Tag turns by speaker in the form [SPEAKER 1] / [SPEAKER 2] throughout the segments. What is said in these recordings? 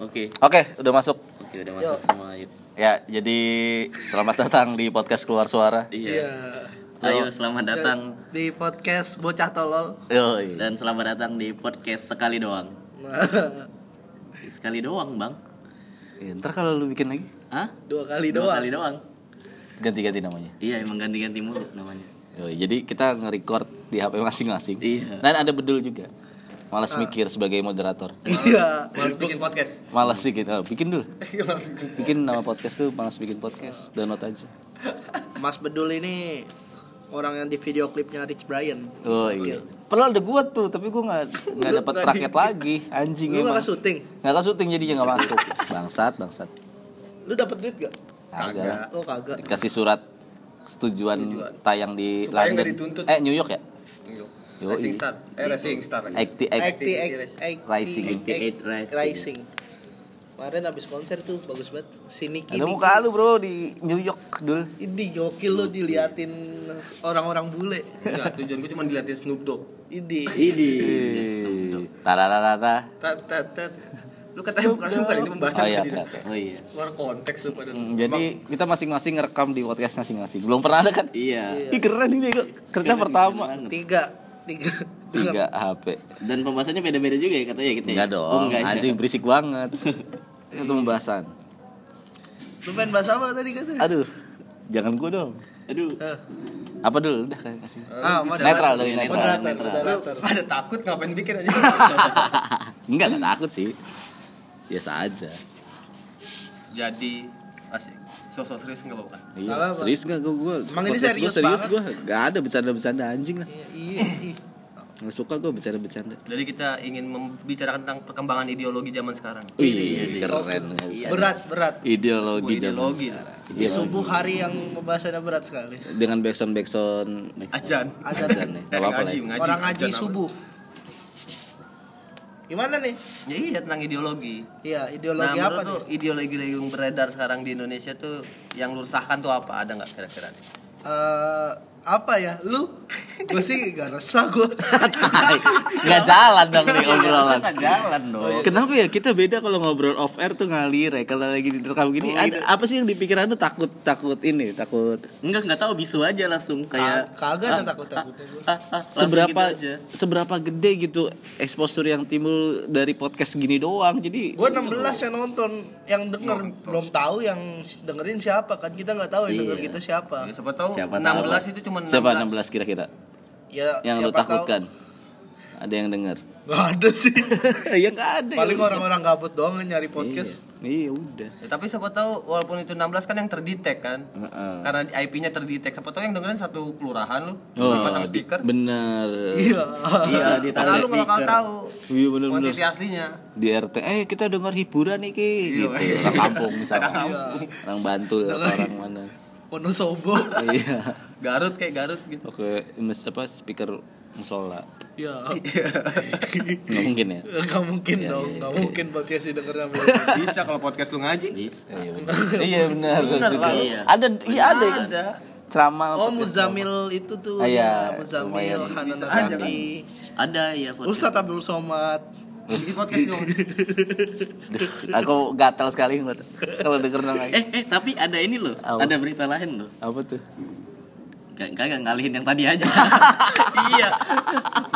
[SPEAKER 1] Oke,
[SPEAKER 2] Oke,
[SPEAKER 1] udah masuk.
[SPEAKER 2] oke udah masuk semua. Yuk.
[SPEAKER 1] Ya, jadi selamat datang di podcast Keluar Suara.
[SPEAKER 2] Iya.
[SPEAKER 3] Iya.
[SPEAKER 2] Ayo selamat datang
[SPEAKER 3] Di podcast bocah tolol.
[SPEAKER 1] Yoi.
[SPEAKER 2] dan selamat datang di podcast sekali doang.
[SPEAKER 3] Nah,
[SPEAKER 2] Sekali doang, Bang.
[SPEAKER 1] Ya, ntar kalau lu bikin lagi,
[SPEAKER 2] Hah?
[SPEAKER 3] dua kali
[SPEAKER 2] Dua
[SPEAKER 3] doang.
[SPEAKER 2] kali doang.
[SPEAKER 1] ganti-ganti namanya.
[SPEAKER 2] Iya, emang ganti-ganti mulu namanya.
[SPEAKER 1] Yoi, jadi kita nge-record di HP masing-masing.
[SPEAKER 2] Iya.
[SPEAKER 1] Dan ada bedul juga. Malas mikir sebagai moderator.
[SPEAKER 3] Iya.
[SPEAKER 4] Harus bikin podcast.
[SPEAKER 1] Malas bikin, oh, bikin dulu. Bikin nama podcast tuh malas bikin podcast. Download aja.
[SPEAKER 3] Mas Bedul ini orang yang di video klipnya Rich Brian.
[SPEAKER 1] Oh iya. Padahal ada gua tuh, tapi gua nggak nggak dapat
[SPEAKER 3] tadi.
[SPEAKER 1] raket lagi. Anjing
[SPEAKER 3] Lu
[SPEAKER 1] emang.
[SPEAKER 3] gak syuting?
[SPEAKER 1] Nggak ke syuting jadinya nggak masuk. Bangsat, bangsat.
[SPEAKER 3] Lu dapet duit gak?
[SPEAKER 1] Kagak. lah.
[SPEAKER 3] Oh kagak.
[SPEAKER 1] dikasih surat setujuan tayang di
[SPEAKER 4] Supaya
[SPEAKER 1] London
[SPEAKER 4] nggak dituntut.
[SPEAKER 1] eh New York ya Yoi.
[SPEAKER 4] Iya.
[SPEAKER 1] Gitu.
[SPEAKER 4] Racing Star. Eh Racing Star.
[SPEAKER 1] Acti
[SPEAKER 3] Act-
[SPEAKER 1] Acti
[SPEAKER 3] act- act-
[SPEAKER 1] Rising.
[SPEAKER 3] act- act-
[SPEAKER 2] Rising.
[SPEAKER 3] Rising. Kemarin abis konser tuh bagus banget. Sini kini.
[SPEAKER 1] ada muka lu bro di New York dul
[SPEAKER 3] Ini gokil lu diliatin orang-orang bule.
[SPEAKER 4] Enggak, tujuan gue cuma diliatin Snoop Dogg.
[SPEAKER 3] Ini.
[SPEAKER 2] Ini.
[SPEAKER 1] tarararara
[SPEAKER 4] Tat tat tat. Lu katanya bukan bukan ini pembahasan
[SPEAKER 1] oh iya
[SPEAKER 4] tadi.
[SPEAKER 1] oke, oke.
[SPEAKER 2] Oh iya.
[SPEAKER 4] Luar konteks lu pada.
[SPEAKER 1] Hmm, jadi kita masing-masing ngerekam di podcast masing-masing belum pernah ada kan
[SPEAKER 2] Iya.
[SPEAKER 1] Ih keren ini kok kerja pertama
[SPEAKER 3] Tiga. Tiga.
[SPEAKER 1] tiga HP
[SPEAKER 2] Dan pembahasannya beda-beda juga ya katanya kita. ya?
[SPEAKER 1] enggak iya.
[SPEAKER 2] Oh,
[SPEAKER 1] dong
[SPEAKER 2] enggak.
[SPEAKER 1] anjing berisik banget itu pembahasan
[SPEAKER 3] Lu main bahasa apa tadi katanya?
[SPEAKER 1] aduh jangan gua dong
[SPEAKER 2] Aduh.
[SPEAKER 3] Eh,
[SPEAKER 1] apa dulu udah kasih
[SPEAKER 3] Ah, moderator.
[SPEAKER 1] netral dari netral
[SPEAKER 3] Moderator. Moderator.
[SPEAKER 4] Ada takut ngapain bikin aja.
[SPEAKER 1] Enggak, enggak takut sih. Biasa aja.
[SPEAKER 4] Jadi asik. Sosok serius enggak apa-apa.
[SPEAKER 1] Iya,
[SPEAKER 3] Apa-apa?
[SPEAKER 1] serius enggak gua gua.
[SPEAKER 3] Emang ini
[SPEAKER 1] podcast gua
[SPEAKER 3] serius
[SPEAKER 1] serius
[SPEAKER 3] banget?
[SPEAKER 1] gua. Enggak ada bercanda-bercanda anjing lah.
[SPEAKER 3] Iya, Iya. iya.
[SPEAKER 1] Enggak suka gua bercanda-bercanda.
[SPEAKER 4] Jadi kita ingin membicarakan tentang perkembangan ideologi zaman sekarang.
[SPEAKER 1] Ih, keren.
[SPEAKER 3] Iya. Berat, berat.
[SPEAKER 1] Ideologi zaman.
[SPEAKER 4] Sebuah ideologi.
[SPEAKER 3] Di subuh hari yang pembahasannya berat sekali.
[SPEAKER 1] Iya. dengan backsound backsound
[SPEAKER 4] Ajan.
[SPEAKER 3] Ajan.
[SPEAKER 1] Ajan ya. Enggak apa-apa lah.
[SPEAKER 4] Ngaji,
[SPEAKER 1] ya.
[SPEAKER 4] ngaji.
[SPEAKER 3] Orang ngaji
[SPEAKER 4] ajan apa.
[SPEAKER 3] subuh. Gimana nih?
[SPEAKER 4] Ya iya tentang ideologi.
[SPEAKER 3] Iya, ideologi
[SPEAKER 4] nah,
[SPEAKER 3] apa
[SPEAKER 4] menurut
[SPEAKER 3] tuh?
[SPEAKER 4] lu ideologi yang beredar sekarang di Indonesia tuh yang lursahkan tuh apa? Ada nggak kira-kira nih?
[SPEAKER 3] Eh, apa ya? Lu? Gue sih gak resah gue.
[SPEAKER 1] Enggak jalan dong nih obrolan.
[SPEAKER 2] Obrolan jalan Oh, iya. dong.
[SPEAKER 1] Kenapa ya kita beda kalau ngobrol off air tuh ngalir ya kalau lagi direkam gini ada, apa sih yang di pikiran lu takut takut ini takut
[SPEAKER 2] Enggak, enggak tahu bisu aja langsung
[SPEAKER 1] Iya.
[SPEAKER 2] kayak
[SPEAKER 3] kagak ada
[SPEAKER 2] ah,
[SPEAKER 3] takut-takutnya gua.
[SPEAKER 2] ah, ah, langsung
[SPEAKER 1] seberapa
[SPEAKER 2] gitu aja.
[SPEAKER 1] seberapa gede gitu exposure yang timbul dari podcast gini doang jadi
[SPEAKER 4] Iya,
[SPEAKER 3] Gue 16 yang nonton, yang denger belum tahu yang dengerin siapa kan kita nggak tahu yang denger
[SPEAKER 2] Iya.
[SPEAKER 3] kita siapa.
[SPEAKER 4] Ya, siapa tahu
[SPEAKER 2] Siapa
[SPEAKER 4] 16
[SPEAKER 2] tahu?
[SPEAKER 4] itu cuma 16.
[SPEAKER 1] siapa 16 kira-kira
[SPEAKER 3] Ya
[SPEAKER 1] yang lu
[SPEAKER 3] siapa tahu.
[SPEAKER 1] takutkan ada yang dengar
[SPEAKER 3] Nggak ada sih.
[SPEAKER 1] ya nggak ada
[SPEAKER 3] Paling orang-orang gabut doang yang nyari podcast.
[SPEAKER 1] iya udah
[SPEAKER 4] Ya, tapi siapa tahu walaupun itu 16 kan yang terdetek kan? Karena IP-nya terdetek. Siapa tahu yang dengerin satu kelurahan lu, pasang
[SPEAKER 1] di-
[SPEAKER 4] speaker.
[SPEAKER 1] bener
[SPEAKER 3] Iya.
[SPEAKER 2] Iya,
[SPEAKER 4] Karena
[SPEAKER 2] ditaruh
[SPEAKER 4] lu nggak bakal
[SPEAKER 2] speaker.
[SPEAKER 4] tahu
[SPEAKER 1] iya bener bener
[SPEAKER 4] kuantiti aslinya.
[SPEAKER 1] di RT eh kita dengar hiburan nih
[SPEAKER 3] Iya.
[SPEAKER 1] Ki. gitu orang kampung misalnya orang Bantul atau orang mana
[SPEAKER 3] Wonosobo.
[SPEAKER 1] iya
[SPEAKER 4] Garut kayak Garut gitu.
[SPEAKER 1] oke mes apa speaker musola
[SPEAKER 3] Iya.
[SPEAKER 1] nggak mungkin ya
[SPEAKER 3] Gak mungkin dong, gak
[SPEAKER 1] iya.
[SPEAKER 3] mungkin podcast didengerin sama
[SPEAKER 4] Bisa kalau podcast lu ngaji.
[SPEAKER 2] Bis.
[SPEAKER 1] Iya benar. iya benar.
[SPEAKER 2] lah.
[SPEAKER 1] Iya. Ada iya ada.
[SPEAKER 4] Ada.
[SPEAKER 1] Ceramah.
[SPEAKER 3] Oh Muzamil itu tuh
[SPEAKER 1] Ah, iya.
[SPEAKER 3] ya,
[SPEAKER 1] Lumayan.
[SPEAKER 3] Muzamil Hanan
[SPEAKER 1] Bisa aja, kan?
[SPEAKER 3] Abadi
[SPEAKER 2] Ada ya foto.
[SPEAKER 3] Ustadz Abdul Somad
[SPEAKER 4] Di podcast lu.
[SPEAKER 1] Aku gatal sekali ngeliat- kalau denger nama
[SPEAKER 2] Eh, eh, tapi ada ini loh.
[SPEAKER 1] Apa?
[SPEAKER 2] Ada berita lain loh.
[SPEAKER 1] Apa tuh?
[SPEAKER 2] Gak, kagak ngalihin yang tadi aja. iya.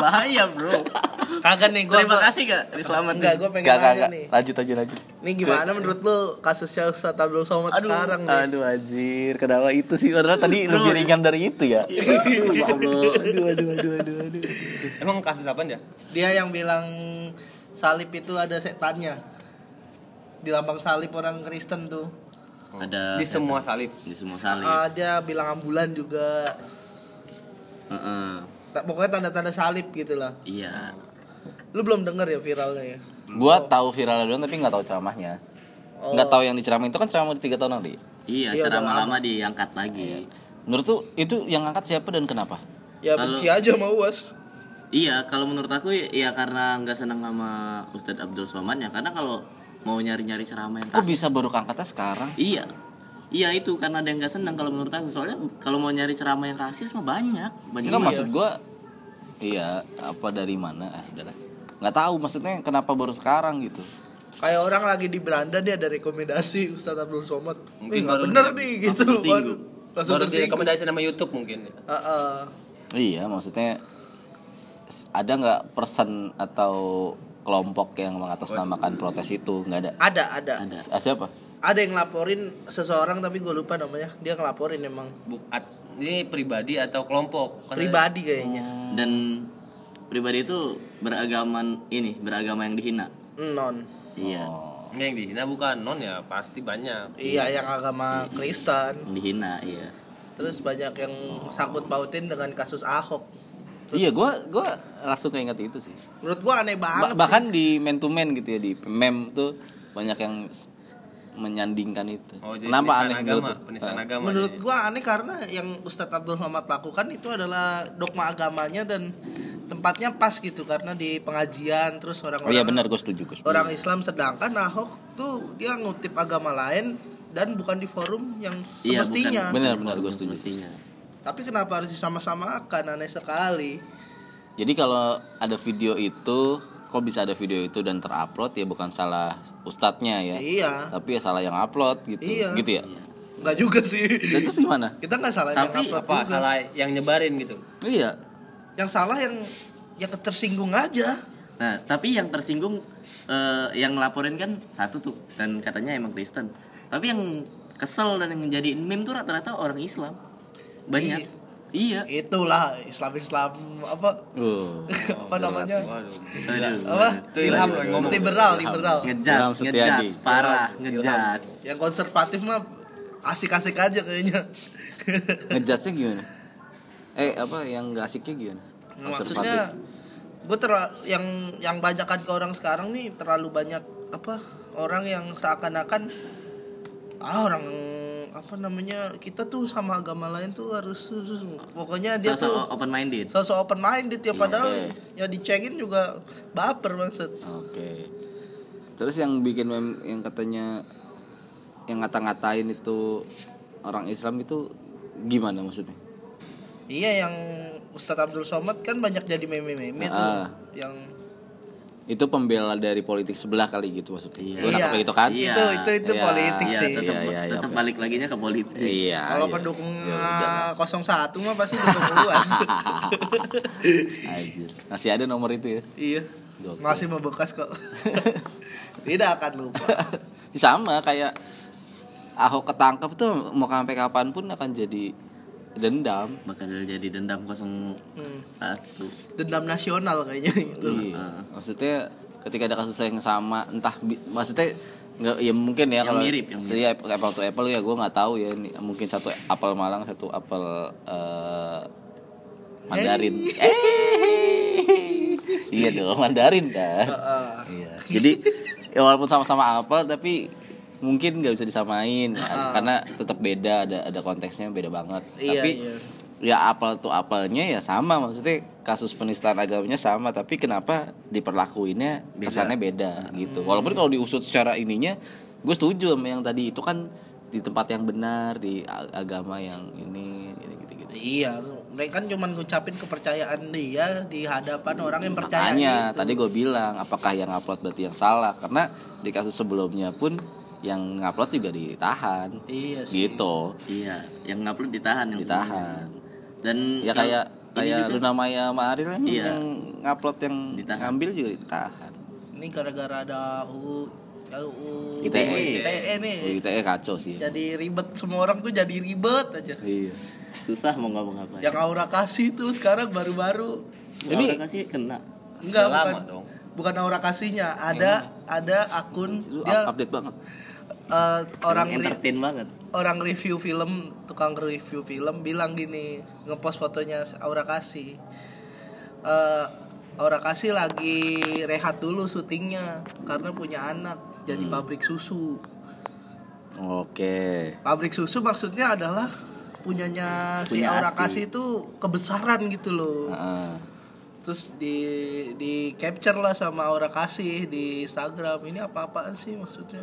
[SPEAKER 2] Bahaya, Bro.
[SPEAKER 3] Kagak nih gue
[SPEAKER 2] Terima kasih gak Selamat
[SPEAKER 3] Enggak gue pengen
[SPEAKER 1] Gak gak
[SPEAKER 3] nanya
[SPEAKER 1] gak.
[SPEAKER 3] nih
[SPEAKER 1] Lanjut aja lanjut.
[SPEAKER 3] Nih gimana menurut lu kasusnya Ustadz Abdul Somad
[SPEAKER 2] Aduh,
[SPEAKER 3] sekarang nih
[SPEAKER 1] Aduh anjir, kenapa itu sih? Padahal tadi lebih ringan dari itu ya.
[SPEAKER 2] Ya Allah.
[SPEAKER 1] Aduh aduh aduh aduh aduh.
[SPEAKER 4] Emang kasus apa ya?
[SPEAKER 3] Dia yang bilang salib itu ada setannya Di lambang salib orang Kristen tuh Oh.
[SPEAKER 2] Ada
[SPEAKER 4] Di semua salib.
[SPEAKER 2] di semua
[SPEAKER 1] iya.
[SPEAKER 2] salib.
[SPEAKER 3] Ah, Dia bilang ambulan juga
[SPEAKER 2] Heeh.
[SPEAKER 3] Ta- Pokoknya tanda-tanda salib gitu lah
[SPEAKER 2] Iya.
[SPEAKER 3] Lu belum denger ya viralnya ya
[SPEAKER 1] Gua tahu viral doang tapi nggak tahu ceramahnya. Nggak tahu yang diceramain itu kan ceramah di tiga tahun lalu. ya?
[SPEAKER 2] Iya,
[SPEAKER 3] Iya,
[SPEAKER 2] cara
[SPEAKER 3] udah Iya.
[SPEAKER 2] lama diangkat lagi.
[SPEAKER 1] Menurut tuh itu yang angkat siapa dan kenapa?
[SPEAKER 3] Ya
[SPEAKER 2] Kalau-
[SPEAKER 3] benci aja sama UAS
[SPEAKER 2] Iya, kalau menurut aku ya karena nggak senang sama Ustadz Abdul Somad ya karena kalau mau nyari-nyari ceramah yang
[SPEAKER 1] Kok bisa baru keangkatnya sekarang?
[SPEAKER 2] Iya. Iya itu karena ada yang gak senang kalau menurut aku soalnya kalau mau nyari ceramah yang rasis mah banyak banyak
[SPEAKER 1] Enggak
[SPEAKER 2] banget.
[SPEAKER 1] maksud gua iya apa dari mana ah udahlah nggak tahu maksudnya kenapa baru sekarang gitu
[SPEAKER 3] kayak orang lagi di beranda dia ada rekomendasi Ustadz Abdul Somad
[SPEAKER 4] Mungkin
[SPEAKER 3] mungkin
[SPEAKER 4] baru
[SPEAKER 3] bener
[SPEAKER 4] dia-
[SPEAKER 3] nih gitu
[SPEAKER 2] langsung tersinggung.
[SPEAKER 3] Waduh, langsung
[SPEAKER 4] Baru
[SPEAKER 3] tersinggung
[SPEAKER 4] direkomendasi nama YouTube mungkin.
[SPEAKER 3] Heeh.
[SPEAKER 1] Iya, maksudnya s- ada nggak person atau kelompok yang mengatasnamakan protes itu? Nggak ada.
[SPEAKER 3] ada ada
[SPEAKER 1] S- ah, siapa?
[SPEAKER 3] ada yang ngelaporin seseorang tapi gue lupa namanya dia ngelaporin emang
[SPEAKER 4] Bu, at- ini pribadi atau kelompok? Kan Karena-
[SPEAKER 3] pribadi kayaknya
[SPEAKER 2] dan pribadi itu beragaman ini beragama yang dihina
[SPEAKER 4] Oh.
[SPEAKER 3] non
[SPEAKER 2] iya
[SPEAKER 3] Oh.
[SPEAKER 4] Ini yang dihina bukan non ya pasti banyak.
[SPEAKER 3] iya yang agama Kristen
[SPEAKER 2] yang dihina iya
[SPEAKER 3] terus banyak yang sangkut pautin dengan kasus Ahok
[SPEAKER 1] Iya, gua gua langsung keinget itu sih.
[SPEAKER 3] menurut gue aneh
[SPEAKER 1] Ba-
[SPEAKER 3] banget
[SPEAKER 1] bahkan di man to man gitu ya di mem tuh banyak yang s- menyandingkan itu.
[SPEAKER 4] Oh, jadi
[SPEAKER 1] Kenapa
[SPEAKER 4] penistaan
[SPEAKER 1] aneh
[SPEAKER 4] agama,
[SPEAKER 1] menurut lu?
[SPEAKER 4] penistaan
[SPEAKER 1] Eh,
[SPEAKER 4] agama. ya.
[SPEAKER 3] Menurut
[SPEAKER 4] jadi.
[SPEAKER 3] gua aneh karena yang Ustadz Abdul Somad lakukan itu adalah dogma agamanya dan tempatnya pas gitu karena di pengajian terus
[SPEAKER 1] Oh
[SPEAKER 3] orang-orang
[SPEAKER 1] iya benar, gue setuju, gue setuju.
[SPEAKER 3] orang Islam sedangkan Ahok tuh dia ngutip agama lain dan bukan di forum yang
[SPEAKER 2] iya
[SPEAKER 3] semestinya.
[SPEAKER 1] Benar, benar, gua setuju.
[SPEAKER 2] semestinya
[SPEAKER 3] Tapi kenapa harus disama-samakan aneh sekali.
[SPEAKER 1] Jadi kalau ada video itu, kok bisa ada video itu dan terupload ya bukan salah ustadznya ya.
[SPEAKER 3] Iya.
[SPEAKER 1] Tapi ya salah yang upload gitu.
[SPEAKER 3] Iya.
[SPEAKER 1] Gitu ya.
[SPEAKER 3] Enggak juga sih.
[SPEAKER 1] Dan terus gimana?
[SPEAKER 3] Kita nggak salah yang
[SPEAKER 4] Tapi
[SPEAKER 3] upload
[SPEAKER 4] apa
[SPEAKER 3] juga.
[SPEAKER 4] salah yang nyebarin gitu?
[SPEAKER 1] Iya.
[SPEAKER 3] Yang salah yang yang ketersinggung aja.
[SPEAKER 2] nah tapi yang tersinggung eh, yang laporin kan satu tuh dan katanya emang Kristen tapi yang kesel dan yang menjadi meme tuh rata-rata orang Islam banyak iya,
[SPEAKER 3] Itulah Islam-Islam apa
[SPEAKER 1] Uh.
[SPEAKER 4] Oh.
[SPEAKER 3] apa namanya?
[SPEAKER 4] Waduh.
[SPEAKER 2] Aduh,
[SPEAKER 3] Apa?
[SPEAKER 4] Itu Ilham loh yang ngomong.
[SPEAKER 3] liberal, liberal.
[SPEAKER 2] Iya.
[SPEAKER 1] Ilham
[SPEAKER 2] ngejudge,
[SPEAKER 1] Setiadi.
[SPEAKER 2] ngejudge, parah, ngejudge.
[SPEAKER 3] Yang konservatif mah asik-asik aja kayaknya.
[SPEAKER 1] Ngejudge-nya gimana? Eh apa yang gak asiknya gimana?
[SPEAKER 3] Maksudnya gue ter yang yang banyakan ke orang sekarang nih terlalu banyak apa orang yang seakan-akan ah orang apa namanya kita tuh sama agama lain tuh harus, harus- pokoknya dia
[SPEAKER 2] Sosok
[SPEAKER 3] tuh
[SPEAKER 2] open minded.
[SPEAKER 3] sosok open minded ya padahal
[SPEAKER 1] Oke.
[SPEAKER 3] ya dicengin juga baper maksud
[SPEAKER 1] Konservatif. Oke. Terus yang bikin mem- yang katanya yang ngata-ngatain itu orang Islam itu gimana maksudnya?
[SPEAKER 3] iya yang Ustadz Abdul Somad kan banyak jadi meme-meme tuh
[SPEAKER 1] Ah.
[SPEAKER 3] yang
[SPEAKER 1] Itu pembela dari politik sebelah kali gitu maksudnya.
[SPEAKER 2] Iya.
[SPEAKER 1] Lu nangkep kayak gitu kan?
[SPEAKER 2] Iya.
[SPEAKER 3] itu itu itu
[SPEAKER 1] Iya.
[SPEAKER 3] politik
[SPEAKER 2] Iya,
[SPEAKER 3] sih
[SPEAKER 1] Iya,
[SPEAKER 2] tetap
[SPEAKER 1] iya, iya,
[SPEAKER 2] tetap
[SPEAKER 1] oke.
[SPEAKER 2] balik laginya ke politik.
[SPEAKER 1] Iya.
[SPEAKER 3] Kalau
[SPEAKER 1] iya.
[SPEAKER 3] pendukung
[SPEAKER 1] Ya udah lah.
[SPEAKER 3] 01 mah pasti dukung luas.
[SPEAKER 1] Anjir. Masih ada nomor itu ya.
[SPEAKER 3] iya.
[SPEAKER 1] Gokil.
[SPEAKER 3] Masih membekas kok. Tidak akan lupa.
[SPEAKER 1] Sama kayak Ahok ketangkep tuh mau sampai kapanpun akan jadi dendam.
[SPEAKER 2] Bakal jadi dendam kosong
[SPEAKER 3] Hmm.
[SPEAKER 2] satu.
[SPEAKER 3] Dendam nasional kayaknya gitu.
[SPEAKER 1] Iya. Maksudnya ketika ada kasus yang sama entah bi- maksudnya nggak ya mungkin ya
[SPEAKER 2] Yang
[SPEAKER 1] kalau
[SPEAKER 2] mirip, yang mirip.
[SPEAKER 1] saya apple, apple to apple ya gue nggak tahu ya ini mungkin satu apel Malang satu apel eh, Mandarin. Eh. iya dong Mandarin kan. Iya. Jadi ya walaupun sama-sama apel tapi mungkin nggak bisa disamain kan, karena tetap beda ada ada konteksnya beda banget.
[SPEAKER 3] Iya,
[SPEAKER 1] tapi
[SPEAKER 3] iya.
[SPEAKER 1] ya apel tuh apelnya ya sama maksudnya kasus penistaan agamanya sama tapi kenapa diperlakuinnya kesannya beda gitu. Walaupun kalau diusut secara ininya gue setuju sama yang tadi itu kan di tempat yang benar di a- agama yang ini gitu gitu.
[SPEAKER 3] Iya, mereka kan cuman ngucapin kepercayaan dia di hadapan orang yang percaya.
[SPEAKER 1] Makanya
[SPEAKER 3] gitu.
[SPEAKER 1] tadi gue bilang apakah yang upload berarti yang salah karena di kasus sebelumnya pun yang upload juga ditahan.
[SPEAKER 3] Iya sih.
[SPEAKER 1] Gitu.
[SPEAKER 2] Iya, yang ngupload ditahan yang
[SPEAKER 1] Ditahan.
[SPEAKER 2] sebelumnya. Dan
[SPEAKER 1] Ya
[SPEAKER 2] yang
[SPEAKER 1] kayak
[SPEAKER 2] ini
[SPEAKER 1] kayak
[SPEAKER 2] juga
[SPEAKER 1] Luna Maya sama Ariel kan
[SPEAKER 2] Iya.
[SPEAKER 1] yang upload yang
[SPEAKER 2] Ditahan.
[SPEAKER 1] ngambil juga ditahan.
[SPEAKER 3] Ini gara-gara ada ya UU UU
[SPEAKER 1] ITE.
[SPEAKER 3] ITE E nih.
[SPEAKER 1] Oh, ITE kacau sih.
[SPEAKER 3] Jadi ribet semua orang tuh jadi ribet aja.
[SPEAKER 1] Iya.
[SPEAKER 2] susah mau ngomong apa.
[SPEAKER 1] Ya,
[SPEAKER 3] Yang aura kasih tuh sekarang baru-baru
[SPEAKER 2] ini kasih kena.
[SPEAKER 3] Enggak,
[SPEAKER 4] Udah lama
[SPEAKER 3] bukan.
[SPEAKER 4] dong.
[SPEAKER 3] Bukan aura kasihnya, ada ada akun
[SPEAKER 1] Lu up-
[SPEAKER 3] dia
[SPEAKER 1] update banget.
[SPEAKER 3] eh, orang re-
[SPEAKER 2] entertain banget.
[SPEAKER 3] orang review film, tukang review film bilang gini, ngepost fotonya aura kasih. Eh, aura kasih lagi rehat dulu syutingnya karena punya anak jadi pabrik susu.
[SPEAKER 1] Oke.
[SPEAKER 3] Pabrik susu maksudnya adalah punyanya si
[SPEAKER 2] Punya
[SPEAKER 3] aura
[SPEAKER 2] Asi.
[SPEAKER 1] Ah.
[SPEAKER 3] kasih itu kebesaran gitu loh.
[SPEAKER 1] Heeh.
[SPEAKER 3] terus di di capture lah sama Aura Kasih di Instagram ini apa-apaan sih maksudnya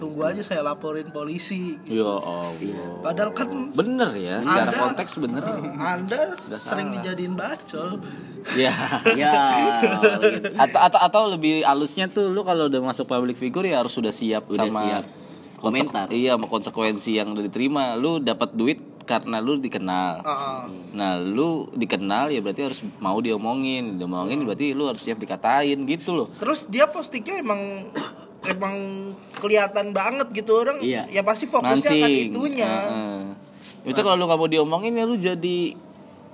[SPEAKER 3] tunggu aja saya laporin polisi
[SPEAKER 1] Ya Allah.
[SPEAKER 3] padahal kan
[SPEAKER 1] Bener ya, secara
[SPEAKER 3] Ada.
[SPEAKER 1] konteks bener.
[SPEAKER 3] anda
[SPEAKER 1] Udah
[SPEAKER 3] sering
[SPEAKER 1] salah.
[SPEAKER 3] dijadiin bacol
[SPEAKER 1] Ya.
[SPEAKER 2] ya gitu.
[SPEAKER 1] atau, atau atau lebih halusnya tuh lu kalau udah masuk public figure ya harus sudah siap
[SPEAKER 2] Udah
[SPEAKER 1] sama
[SPEAKER 2] siap.
[SPEAKER 1] konse-
[SPEAKER 2] Komentar.
[SPEAKER 1] Iya, sama konsekuensi yang udah diterima. Lu dapat duit karena lu dikenal.
[SPEAKER 3] Ah,
[SPEAKER 1] Nah, lu dikenal ya berarti harus mau diomongin. Diomongin berarti lu harus siap dikatain gitu loh.
[SPEAKER 3] terus dia postingnya emang emang kelihatan banget gitu orang
[SPEAKER 2] Iya.
[SPEAKER 3] ya pasti fokusnya akan
[SPEAKER 1] Mancing. Ah,
[SPEAKER 3] itunya
[SPEAKER 1] Heeh. Itu kalau lu gak mau diomongin ya lu jadi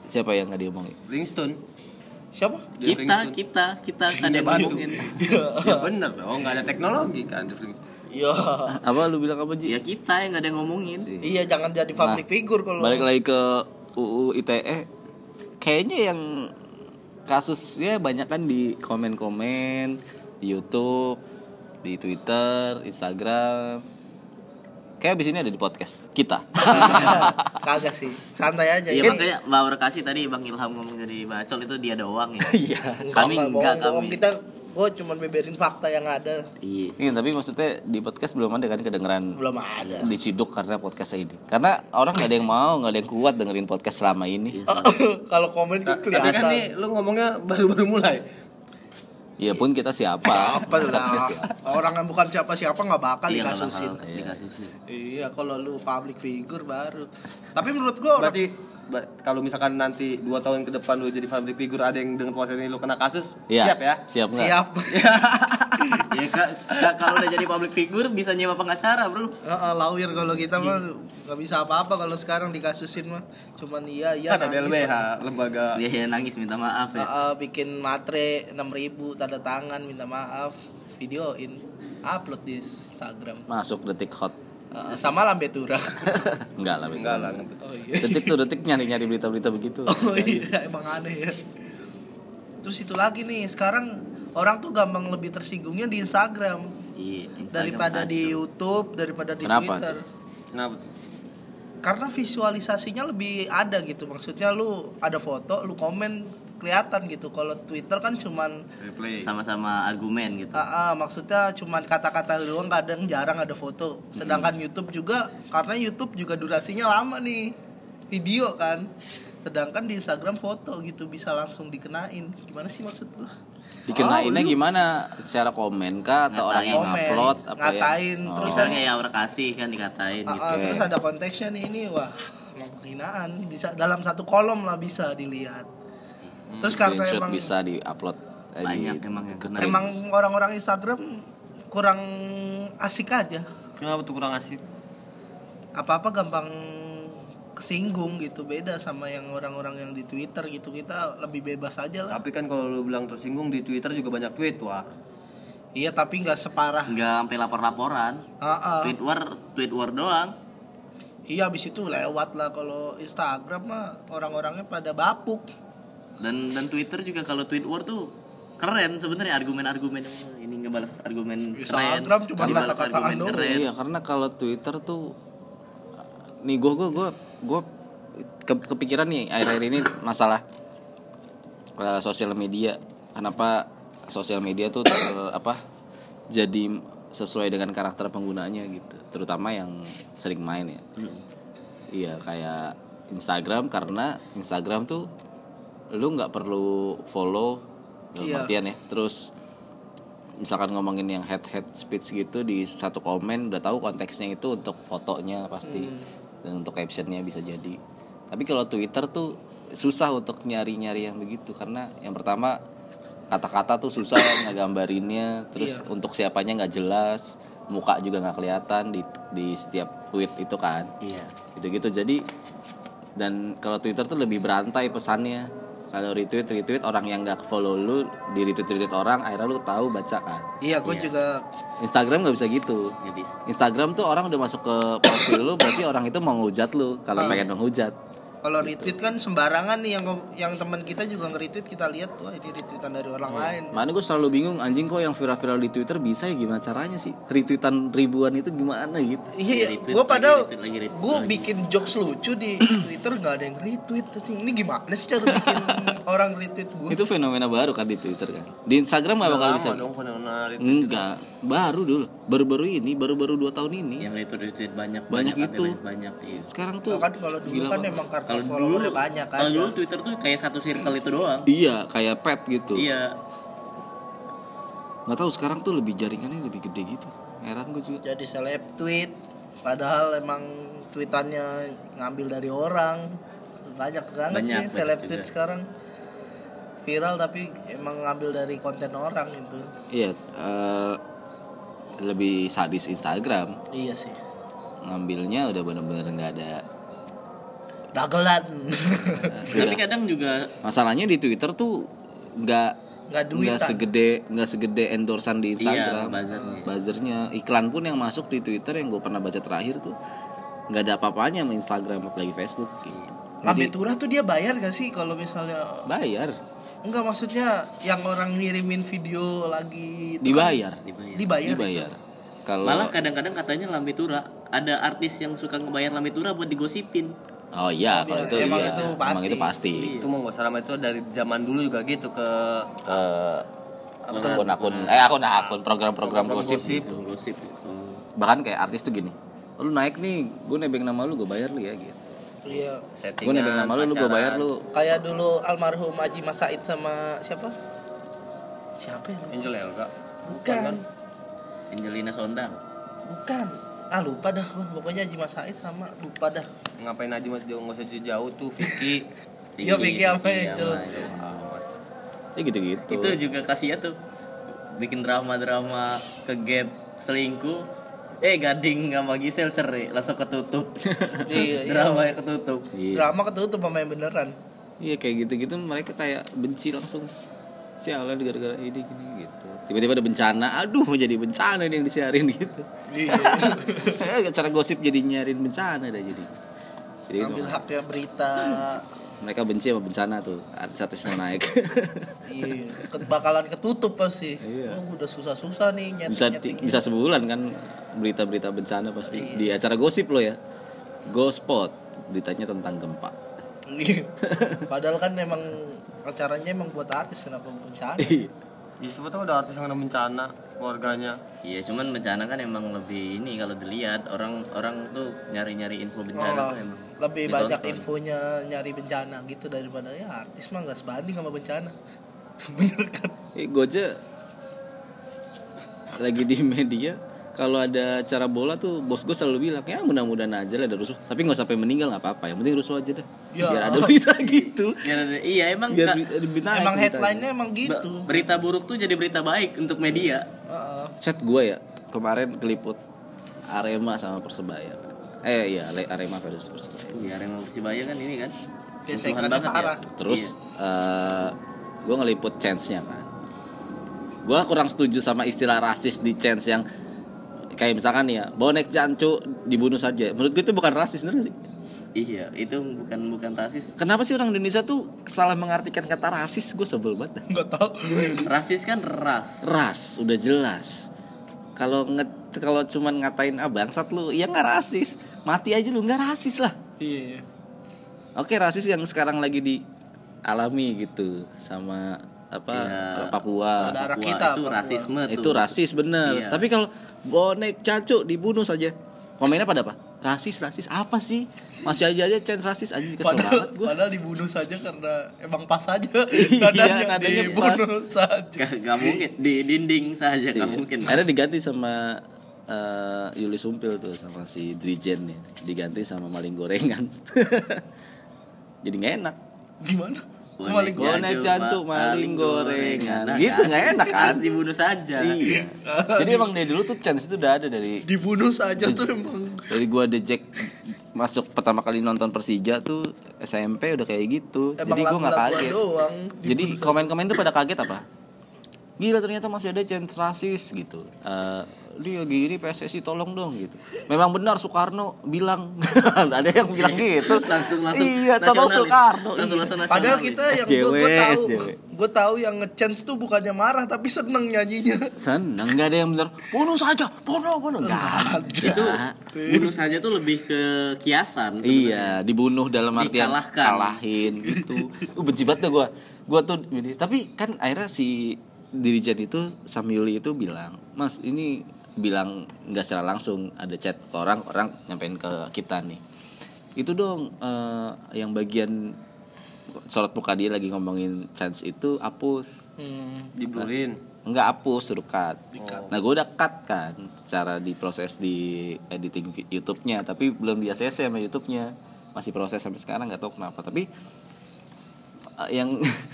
[SPEAKER 1] siapa yang gak diomongin?
[SPEAKER 4] Ringstone.
[SPEAKER 3] siapa
[SPEAKER 2] kita
[SPEAKER 4] Jeff Ringstone.
[SPEAKER 2] kita kita
[SPEAKER 3] Iya,
[SPEAKER 2] ada yang
[SPEAKER 4] Bantu.
[SPEAKER 2] ngomongin
[SPEAKER 4] ya bener dong, nggak ada teknologi kan Jeff Ringstone.
[SPEAKER 3] iya
[SPEAKER 1] Apa lu bilang apa Ji?
[SPEAKER 2] ya kita yang ada yang ngomongin
[SPEAKER 3] iya jangan jadi public
[SPEAKER 1] Nah,
[SPEAKER 3] figure kalau
[SPEAKER 1] Balik lagi ke UU ITE E. kayaknya yang kasusnya banyak kan di komen-komen di YouTube, di Twitter, Instagram. Kayak abis ini ada di podcast kita.
[SPEAKER 3] kagak sih santai aja
[SPEAKER 2] Iya
[SPEAKER 3] Kan-
[SPEAKER 2] makanya Mbak Aura kasih tadi Bang Ilham ngomong jadi bacol itu dia doang ya.
[SPEAKER 1] Iya.
[SPEAKER 2] Kami
[SPEAKER 3] Enggak,
[SPEAKER 2] enggak
[SPEAKER 3] bohong-bohong.
[SPEAKER 2] kami.
[SPEAKER 3] kita gue cuman beberin fakta yang ada
[SPEAKER 2] Iya.
[SPEAKER 1] Iya, tapi maksudnya di podcast belum ada kan kedengeran
[SPEAKER 3] belum ada
[SPEAKER 4] Iya.
[SPEAKER 1] diciduk karena podcast ini karena orang nggak ada yang mau nggak ada yang kuat dengerin podcast selama ini
[SPEAKER 3] kalau komen tuh
[SPEAKER 4] Tapi
[SPEAKER 3] kelihatan
[SPEAKER 4] kan nih lu ngomongnya baru-baru mulai.
[SPEAKER 1] ya pun kita siapa
[SPEAKER 3] apa
[SPEAKER 1] Siapa
[SPEAKER 4] ya.
[SPEAKER 3] lah
[SPEAKER 1] siapa.
[SPEAKER 3] orang yang bukan siapa-siapa nggak bakal
[SPEAKER 2] Iya, nggak
[SPEAKER 3] dikasusin
[SPEAKER 2] bakal dikasusin.
[SPEAKER 3] iya kalau lu public figure baru tapi menurut gue orang
[SPEAKER 4] Berarti ba- kalau misalkan nanti 2 tahun ke depan lu jadi public figure ada yang dengan puasa ini lu kena kasus,
[SPEAKER 1] Iya,
[SPEAKER 4] siap ya?
[SPEAKER 1] siap nggak
[SPEAKER 3] siap
[SPEAKER 2] ya Kak, Kak, kalau udah jadi public figure bisa nyewa pengacara, Bro.
[SPEAKER 3] Heeh, lawyer kalau kita mah
[SPEAKER 4] Iya.
[SPEAKER 3] nggak bisa apa-apa kalau sekarang dikasusin mah cuman iya iya
[SPEAKER 4] kan ada
[SPEAKER 3] nangis.
[SPEAKER 4] LBH, lembaga
[SPEAKER 1] Iya.
[SPEAKER 2] Dia ya nangis minta maaf ya.
[SPEAKER 3] Heeh, bikin matre 6000 tanda tangan minta maaf videoin upload di Instagram
[SPEAKER 1] masuk detik hot
[SPEAKER 3] Heeh, sama lambe turah
[SPEAKER 1] enggak lah
[SPEAKER 4] enggak lah.
[SPEAKER 3] oh iya
[SPEAKER 1] detik tuh detik nyari nyari berita berita begitu
[SPEAKER 3] Oh iya, emang aneh ya. Terus itu lagi nih, sekarang orang tuh gampang lebih tersinggungnya di Instagram,
[SPEAKER 2] Iya, Instagram
[SPEAKER 3] daripada di
[SPEAKER 2] kacau.
[SPEAKER 3] YouTube, daripada di
[SPEAKER 1] Kenapa?
[SPEAKER 3] Twitter.
[SPEAKER 4] Kenapa tuh?
[SPEAKER 3] Karena visualisasinya lebih ada gitu. Maksudnya lu ada foto, lu komen kelihatan gitu. Kalau Twitter kan cuman
[SPEAKER 4] Replay.
[SPEAKER 2] sama-sama argumen gitu.
[SPEAKER 3] ah, ah, maksudnya cuman kata-kata doang kadang jarang ada foto. Sedangkan
[SPEAKER 1] Hmm.
[SPEAKER 3] YouTube juga karena YouTube juga durasinya lama nih. Video kan. Sedangkan di Instagram foto gitu bisa langsung dikenain. Gimana sih maksud lu?
[SPEAKER 1] dikenainnya
[SPEAKER 3] oh,
[SPEAKER 1] gimana secara komen kah atau orang yang
[SPEAKER 3] Komen,
[SPEAKER 1] upload apa
[SPEAKER 3] ngatain,
[SPEAKER 1] ya
[SPEAKER 3] terus
[SPEAKER 2] Misalnya ya Aura kasih kan
[SPEAKER 1] Iya,
[SPEAKER 2] dikatain
[SPEAKER 3] Ah,
[SPEAKER 2] gitu.
[SPEAKER 3] ah, terus ada konteksnya nih ini wah emang penghinaan bisa dalam satu kolom lah bisa dilihat. Terus
[SPEAKER 1] Oh,
[SPEAKER 3] karena
[SPEAKER 1] Hmm, screenshot
[SPEAKER 3] emang
[SPEAKER 1] bisa eh, di upload
[SPEAKER 3] ah.
[SPEAKER 2] Banyak emang yang kena.
[SPEAKER 3] emang orang-orang Instagram kurang asik aja.
[SPEAKER 4] Kenapa tuh kurang asik?
[SPEAKER 3] Apa-apa gampang kesinggung gitu beda sama yang orang-orang yang di Twitter gitu kita lebih bebas aja lah.
[SPEAKER 4] Tapi kan kalau lu bilang tersinggung di Twitter juga banyak tweet, wah.
[SPEAKER 3] Iya tapi nggak separah.
[SPEAKER 2] Enggak sampai lapor-laporan.
[SPEAKER 3] Ah, ah.
[SPEAKER 2] Tweet war, tweet war doang.
[SPEAKER 3] Iya abis itu lewat lah kalau Instagram mah orang-orangnya pada bapuk.
[SPEAKER 2] Dan dan Twitter juga kalau tweet war tuh keren sebenarnya argumen-argumen ini ngebales argumen
[SPEAKER 3] Instagram
[SPEAKER 2] keren. ini
[SPEAKER 3] cuma
[SPEAKER 2] balas
[SPEAKER 3] kata-kataan
[SPEAKER 2] argumen
[SPEAKER 3] doang.
[SPEAKER 2] keren.
[SPEAKER 1] Iya karena kalau Twitter tuh nih gue gue gue gue ke- kepikiran nih akhir-akhir ini masalah eh, sosial media kenapa sosial media tuh ter- apa jadi sesuai dengan karakter penggunanya gitu terutama yang sering main ya iya kayak Instagram karena Instagram tuh lu nggak perlu follow dalam
[SPEAKER 3] Iya.
[SPEAKER 1] artian ya terus misalkan ngomongin yang head head speech gitu di satu komen udah tahu konteksnya itu untuk fotonya pasti
[SPEAKER 3] Hmm.
[SPEAKER 1] dan untuk captionnya bisa jadi tapi kalau Twitter tuh susah untuk nyari nyari yang begitu karena yang pertama kata-kata tuh susah ngegambarinnya terus
[SPEAKER 3] Iya.
[SPEAKER 1] untuk siapanya nggak jelas muka juga nggak kelihatan di di setiap tweet itu kan
[SPEAKER 2] Iya.
[SPEAKER 1] gitu-gitu jadi dan kalau Twitter tuh lebih berantai pesannya kalau retweet retweet orang yang nggak follow lu di retweet retweet orang akhirnya lu tahu baca kan
[SPEAKER 3] Iya gue juga
[SPEAKER 1] Instagram nggak bisa gitu
[SPEAKER 2] Nggak bisa.
[SPEAKER 1] Instagram tuh orang udah masuk ke profil lu berarti orang itu mau ngehujat lu kalau pengen menghujat
[SPEAKER 3] Kalau
[SPEAKER 4] gitu.
[SPEAKER 3] retweet kan sembarangan nih yang yang teman kita juga nge-retweet kita lihat tuh ini retweetan dari orang
[SPEAKER 4] Iya.
[SPEAKER 3] lain.
[SPEAKER 1] Mana gue selalu bingung anjing kok yang viral-viral di Twitter bisa ya gimana caranya sih? Retweetan ribuan itu gimana gitu?
[SPEAKER 3] Iya,
[SPEAKER 2] Retweet
[SPEAKER 3] gue
[SPEAKER 2] lagi,
[SPEAKER 3] padahal
[SPEAKER 2] retweet lagi, retweet
[SPEAKER 3] gue
[SPEAKER 2] lagi.
[SPEAKER 3] bikin jokes lucu di Twitter nggak ada yang retweet. Anjing, Ini gimana sih cara bikin orang retweet gue?
[SPEAKER 1] Itu fenomena baru kan di Twitter kan? Di Instagram gak bakal bisa.
[SPEAKER 4] Lama dong fenomena itu.
[SPEAKER 1] Enggak, baru dulu. Baru-baru ini, baru-baru dua tahun
[SPEAKER 4] Iya,
[SPEAKER 1] ini.
[SPEAKER 2] yang retweet retweet banyak
[SPEAKER 1] Banyak itu.
[SPEAKER 2] update banyak, banyak iya.
[SPEAKER 1] Sekarang tuh
[SPEAKER 3] Tuh, kan kalau dulu
[SPEAKER 1] gila
[SPEAKER 3] kan
[SPEAKER 1] banget.
[SPEAKER 3] emang
[SPEAKER 2] kalau
[SPEAKER 3] kartu
[SPEAKER 2] dulu
[SPEAKER 3] followernya banyak kan.
[SPEAKER 2] kalau dulu twitter tuh kayak satu circle itu doang
[SPEAKER 1] Iya, kayak pet gitu.
[SPEAKER 2] iya
[SPEAKER 1] Nggak tahu sekarang tuh lebih jaringannya lebih gede gitu. Heran gue juga.
[SPEAKER 3] Jadi seleb tweet, padahal emang tweetannya ngambil dari orang banyak banget
[SPEAKER 2] Banyak,
[SPEAKER 3] nih
[SPEAKER 2] banyak
[SPEAKER 3] seleb
[SPEAKER 2] juga.
[SPEAKER 3] tweet sekarang viral tapi emang ngambil dari konten orang itu.
[SPEAKER 1] Iya, eh, lebih sadis Instagram.
[SPEAKER 3] Iya sih.
[SPEAKER 1] Ngambilnya udah bener-bener nggak ada.
[SPEAKER 3] Dagelan.
[SPEAKER 1] Iya.
[SPEAKER 2] tapi kadang juga
[SPEAKER 1] Masalahnya di Twitter tuh nggak
[SPEAKER 3] Nggak
[SPEAKER 1] nggak
[SPEAKER 3] duitan.
[SPEAKER 1] segede nggak segede endorsan di Instagram
[SPEAKER 2] Iya, buzzernya.
[SPEAKER 1] buzzernya iklan pun yang masuk di Twitter yang gue pernah baca terakhir tuh nggak ada apa-apanya sama Instagram apalagi Facebook gitu.
[SPEAKER 3] Lambe Turah tuh dia bayar gak sih kalau misalnya
[SPEAKER 1] bayar
[SPEAKER 3] Enggak maksudnya yang orang ngirimin video lagi itu kan
[SPEAKER 1] dibayar
[SPEAKER 2] dibayar.
[SPEAKER 3] dibayar.
[SPEAKER 1] dibayar kalau
[SPEAKER 2] malah kadang-kadang katanya Lambitura ada artis yang suka ngebayar Lambitura buat digosipin
[SPEAKER 1] oh iya kalau itu
[SPEAKER 3] Emang
[SPEAKER 1] iya.
[SPEAKER 3] itu
[SPEAKER 1] emang
[SPEAKER 3] pasti.
[SPEAKER 1] itu pasti
[SPEAKER 4] Itu mau nggak salah sama itu dari zaman dulu juga gitu ke
[SPEAKER 1] Eh, akun-akun eh akun-akun program-program gosip
[SPEAKER 4] gosip.
[SPEAKER 2] Tuh, gosip Hmm.
[SPEAKER 1] bahkan kayak artis tuh gini lu naik nih gue nebeng nama lu gue bayar lu ya gitu
[SPEAKER 3] Iya.
[SPEAKER 1] gue
[SPEAKER 4] settingan.
[SPEAKER 1] nebeng nama lu lu gue
[SPEAKER 4] pacaran.
[SPEAKER 1] bayar lu
[SPEAKER 3] Kayak dulu almarhum Haji Mas Said sama siapa? Siapa ya?
[SPEAKER 4] Angel ya enggak?
[SPEAKER 3] Bukan.
[SPEAKER 2] Angelina Sondang
[SPEAKER 3] Bukan. Ah lupa dah gua. Pokoknya Haji Mas Said sama lupa dah.
[SPEAKER 4] Ngapain aja mas jauh nggak usah jauh tuh Vicky.
[SPEAKER 3] Iya,
[SPEAKER 2] Tinggi,
[SPEAKER 3] Vicky apa
[SPEAKER 2] tinggi
[SPEAKER 3] itu?
[SPEAKER 2] sama itu.
[SPEAKER 1] ya gitu-gitu
[SPEAKER 2] itu juga kasihan tuh bikin drama-drama ke gap selingkuh eh gading sama Gisel cerai langsung ketutup
[SPEAKER 3] Iya, iya.
[SPEAKER 2] drama yang ketutup
[SPEAKER 1] Iya.
[SPEAKER 3] Drama ketutup sama yang beneran.
[SPEAKER 1] Iya kayak gitu-gitu mereka kayak benci langsung Sialan gara-gara ini gini gitu Tiba-tiba ada bencana Aduh mau jadi bencana ini yang disiarin gitu
[SPEAKER 3] Iya.
[SPEAKER 1] Cara gosip jadi nyarin bencana dah jadi Jadi itu,
[SPEAKER 3] Ambil haknya berita.
[SPEAKER 1] mereka benci sama bencana tuh Artis-artis mau naik
[SPEAKER 3] Iya. Ket- Bakalan ketutup pasti.
[SPEAKER 1] Iya.
[SPEAKER 3] Oh, udah susah-susah nih nyetik
[SPEAKER 1] bisa ti- bisa sebulan kan berita-berita bencana pasti
[SPEAKER 3] Iya.
[SPEAKER 1] Di acara gosip lo ya Gospot Beritanya tentang gempa
[SPEAKER 3] Iya. Padahal kan emang acaranya emang buat artis kenapa bencana?
[SPEAKER 4] Di Ya, siapa tuh ada artis yang kena bencana keluarganya.
[SPEAKER 2] iya cuman bencana kan emang lebih ini kalau dilihat orang orang tuh nyari-nyari info bencana
[SPEAKER 3] Oh,
[SPEAKER 2] tuh emang
[SPEAKER 3] lebih
[SPEAKER 2] ditonton.
[SPEAKER 3] banyak infonya nyari bencana gitu daripada ya artis mah nggak sebanding sama bencana bener kan
[SPEAKER 1] Eh, gue aja lagi di media kalau ada acara bola tuh bos gue selalu bilang ya mudah-mudahan aja lah ada rusuh tapi nggak sampai meninggal nggak apa-apa yang penting rusuh aja dah
[SPEAKER 3] Ya.
[SPEAKER 1] biar ada berita gitu
[SPEAKER 2] Biar ada- iya emang
[SPEAKER 1] biar
[SPEAKER 2] ka-
[SPEAKER 1] berita, berita gitu naik
[SPEAKER 3] emang
[SPEAKER 1] beritanya.
[SPEAKER 3] headline-nya emang
[SPEAKER 2] be-
[SPEAKER 3] gitu
[SPEAKER 2] berita buruk tuh jadi berita baik untuk media
[SPEAKER 3] Heeh.
[SPEAKER 1] set gue ya kemarin keliput Arema sama Persebaya kan. eh iya Le- Arema versus Persebaya
[SPEAKER 2] iya Arema Persibaya kan ini kan musuhan
[SPEAKER 3] Gesekan
[SPEAKER 2] banget
[SPEAKER 3] parah.
[SPEAKER 2] Iya.
[SPEAKER 1] terus eh gue ngeliput chance-nya kan gue kurang setuju sama istilah rasis di chance yang kayak misalkan nih ya bonek jancu dibunuh saja menurut gue itu bukan rasis bener nggak sih
[SPEAKER 2] iya itu bukan bukan rasis
[SPEAKER 1] Kenapa sih orang Indonesia tuh salah mengartikan kata rasis? Gue sebel banget.
[SPEAKER 3] nggak tahu
[SPEAKER 2] rasis kan ras
[SPEAKER 1] Ras, udah jelas. Kalau nge kalau cuman ngatain ah bangsat lu, ya nggak rasis. Mati aja lu nggak rasis lah.
[SPEAKER 3] iya
[SPEAKER 1] Oke rasis yang sekarang lagi dialami gitu sama apa
[SPEAKER 2] Iya.
[SPEAKER 1] Papua.
[SPEAKER 3] Saudara
[SPEAKER 2] Papua
[SPEAKER 3] kita,
[SPEAKER 2] itu
[SPEAKER 3] Papua.
[SPEAKER 2] rasisme tuh.
[SPEAKER 1] Itu rasis bener.
[SPEAKER 2] Iya.
[SPEAKER 1] Tapi kalau bonek cacu dibunuh saja. Komennya pada apa? Rasis, rasis apa sih? Masih aja aja chance rasis aja kesel
[SPEAKER 3] padahal,
[SPEAKER 1] banget gue.
[SPEAKER 3] padahal dibunuh saja karena emang pas aja
[SPEAKER 1] Iya,
[SPEAKER 3] nadanya
[SPEAKER 1] nadanya
[SPEAKER 3] dibunuh saja
[SPEAKER 2] Gak, gak mungkin di dinding saja
[SPEAKER 1] Iya.
[SPEAKER 2] gak mungkin
[SPEAKER 1] Akhirnya diganti sama eh, Yuli Sumpil tuh sama si Drijen nih. Diganti sama maling gorengan. Jadi nggak enak.
[SPEAKER 3] gimana
[SPEAKER 2] Bonek
[SPEAKER 3] maling
[SPEAKER 1] gorengan. Bonek jancu,
[SPEAKER 2] ma-
[SPEAKER 1] maling gorengan.
[SPEAKER 2] Nah,
[SPEAKER 1] Gitu,
[SPEAKER 2] harus-
[SPEAKER 1] nggak enak, kan?
[SPEAKER 2] harus dibunuh saja
[SPEAKER 1] Iya. Jadi emang dari dulu tuh chance itu udah ada dari
[SPEAKER 3] dibunuh saja tuh emang
[SPEAKER 1] dari gua The Jack masuk pertama kali nonton Persija tuh SMP udah kayak gitu.
[SPEAKER 3] emang
[SPEAKER 1] Jadi gua nggak
[SPEAKER 3] lagu-laguan
[SPEAKER 1] kaget.
[SPEAKER 3] doang
[SPEAKER 1] Jadi komen-komen tuh pada kaget apa? gila ternyata masih ada chance rasis gitu Eh, dia gini PSSI tolong dong gitu memang benar Soekarno bilang ada yang bilang gitu
[SPEAKER 2] langsung langsung
[SPEAKER 1] iya Toto
[SPEAKER 2] nasionalis.
[SPEAKER 1] Soekarno iya. gitu.
[SPEAKER 2] langsung langsung nasionalis.
[SPEAKER 3] Padahal kita yang
[SPEAKER 1] SJW,
[SPEAKER 3] gue tahu,
[SPEAKER 1] SJW.
[SPEAKER 3] gue tahu yang ngechance tuh bukannya marah tapi seneng nyanyinya.
[SPEAKER 1] seneng nggak ada yang benar bunuh saja bunuh bunuh nggak
[SPEAKER 2] itu bunuh saja tuh lebih ke kiasan
[SPEAKER 1] Iya, dibunuh dalam artian
[SPEAKER 2] Dikalahkan.
[SPEAKER 1] kalahin gitu. Uh, benci banget dah gua. Gua tuh ini. Tapi kan akhirnya si dirijen itu Samyuli itu bilang, "Mas, ini bilang nggak secara langsung ada chat ke orang, orang nyampein ke kita nih." Itu dong eh, yang bagian sorot muka dia lagi ngomongin chance itu hapus
[SPEAKER 3] Hmm.
[SPEAKER 4] diblurin
[SPEAKER 1] nggak hapus suruh cut. Nah gue udah cut kan secara diproses di editing vi- YouTube-nya, tapi belum di ACC sama YouTube-nya masih proses sampai sekarang nggak tahu kenapa. Tapi eh, yang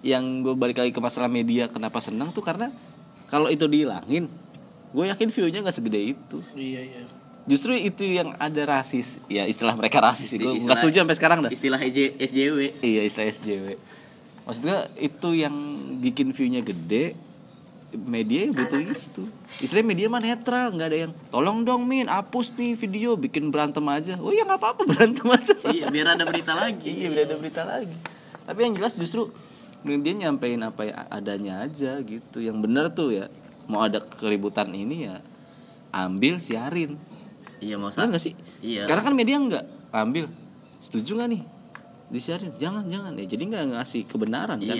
[SPEAKER 1] yang gue balik lagi ke masalah media kenapa senang tuh karena kalau itu dihilangin, gue yakin view-nya nggak segede itu.
[SPEAKER 3] Iya iya.
[SPEAKER 1] Justru itu yang ada rasis, ya istilah mereka rasis sih. Gue
[SPEAKER 2] Istilah-
[SPEAKER 1] nggak setuju sampai sekarang dah.
[SPEAKER 2] istilah E EJ SJW
[SPEAKER 1] Iya istilah SJW. Maksud gua itu yang bikin view-nya gede media ya butuh itu. Istilah media mah netral, nggak ada yang tolong dong Min, hapus nih video bikin berantem aja. Oh ya nggak apa-apa berantem aja.
[SPEAKER 2] iya biar ada berita lagi
[SPEAKER 1] Iya, udah ada berita lagi. Tapi yang jelas justru dia nyampein apa yang adanya aja gitu. Yang bener tuh ya mau ada keributan ini ya ambil siarin.
[SPEAKER 2] iya mau
[SPEAKER 1] Bener nggak sih?
[SPEAKER 2] Iya.
[SPEAKER 1] Sekarang kan media nggak ambil. Setuju nggak nih? Disiarin. Jangan jangan ya. Jadi nggak ngasih kebenaran
[SPEAKER 2] Iya.
[SPEAKER 1] kan.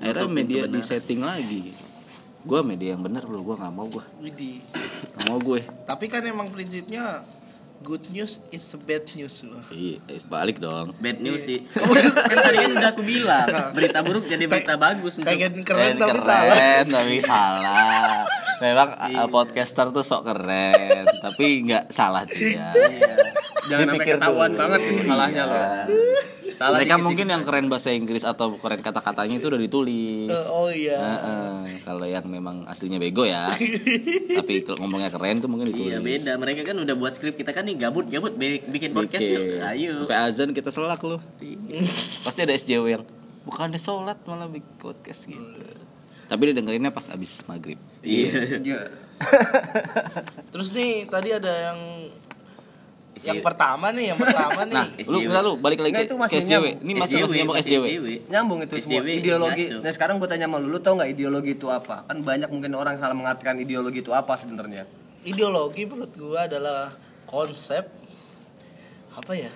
[SPEAKER 1] Akhirnya
[SPEAKER 2] Nutupin
[SPEAKER 1] media
[SPEAKER 2] kebenaran.
[SPEAKER 1] di setting lagi. Gua media yang benar bro. Gua nggak mau gua.
[SPEAKER 3] Widih.
[SPEAKER 1] Nggak mau gue.
[SPEAKER 3] Tapi kan emang prinsipnya good news is a bad news loh.
[SPEAKER 1] Iya, eh, balik dong.
[SPEAKER 2] bad news sih
[SPEAKER 1] Iya. Oh,
[SPEAKER 2] kan tadi kan udah aku bilang berita buruk jadi berita bagus untuk
[SPEAKER 3] Pengen keren
[SPEAKER 1] Eh,
[SPEAKER 3] tapi
[SPEAKER 1] keren,
[SPEAKER 3] salah. Iya.
[SPEAKER 1] tapi salah. Memang eh, podcaster tuh sok keren, tapi nggak salah juga.
[SPEAKER 3] Iya.
[SPEAKER 2] Iya.
[SPEAKER 4] jangan sampai
[SPEAKER 1] Dipikir
[SPEAKER 4] ketahuan
[SPEAKER 1] dulu. Iya.
[SPEAKER 4] banget ini salahnya loh salah
[SPEAKER 1] Mereka
[SPEAKER 4] dikit-dikit.
[SPEAKER 1] mungkin yang keren bahasa Inggris atau keren kata-katanya itu udah ditulis.
[SPEAKER 3] Eh, oh iya.
[SPEAKER 1] Heeh, kalau yang memang aslinya bego ya. Tapi kalau ngomongnya keren tuh mungkin ditulis.
[SPEAKER 2] iya beda mereka kan udah buat skrip kita kan nih gabut gabut bi- bikin podcast
[SPEAKER 1] Bikin.
[SPEAKER 2] yuk ayo
[SPEAKER 1] Sampai azan kita selak loh. Pasti ada SJW yang bukannya sholat malah bikin podcast gitu. Tapi dia dengerinnya pas abis maghrib. Iya.
[SPEAKER 4] Iya.
[SPEAKER 3] Terus nih tadi ada yang
[SPEAKER 1] Iya.
[SPEAKER 3] yang pertama nih, yang pertama nih.
[SPEAKER 1] Nah, lu
[SPEAKER 2] SJW.
[SPEAKER 1] bentar lu balik lagi
[SPEAKER 4] Nah,
[SPEAKER 1] ke,
[SPEAKER 4] itu
[SPEAKER 1] ke
[SPEAKER 4] masih
[SPEAKER 1] SJW.
[SPEAKER 4] nyambung.
[SPEAKER 1] Ini masih masih nyambung
[SPEAKER 2] masih
[SPEAKER 1] SJW.
[SPEAKER 4] nyambung itu semua
[SPEAKER 2] SJW,
[SPEAKER 4] ideologi.
[SPEAKER 2] ngaco.
[SPEAKER 4] Nah sekarang gue tanya sama lu, lu tau nggak ideologi itu apa? Kan banyak mungkin orang salah mengartikan ideologi itu apa sebenarnya.
[SPEAKER 3] Ideologi menurut gua adalah konsep apa ya?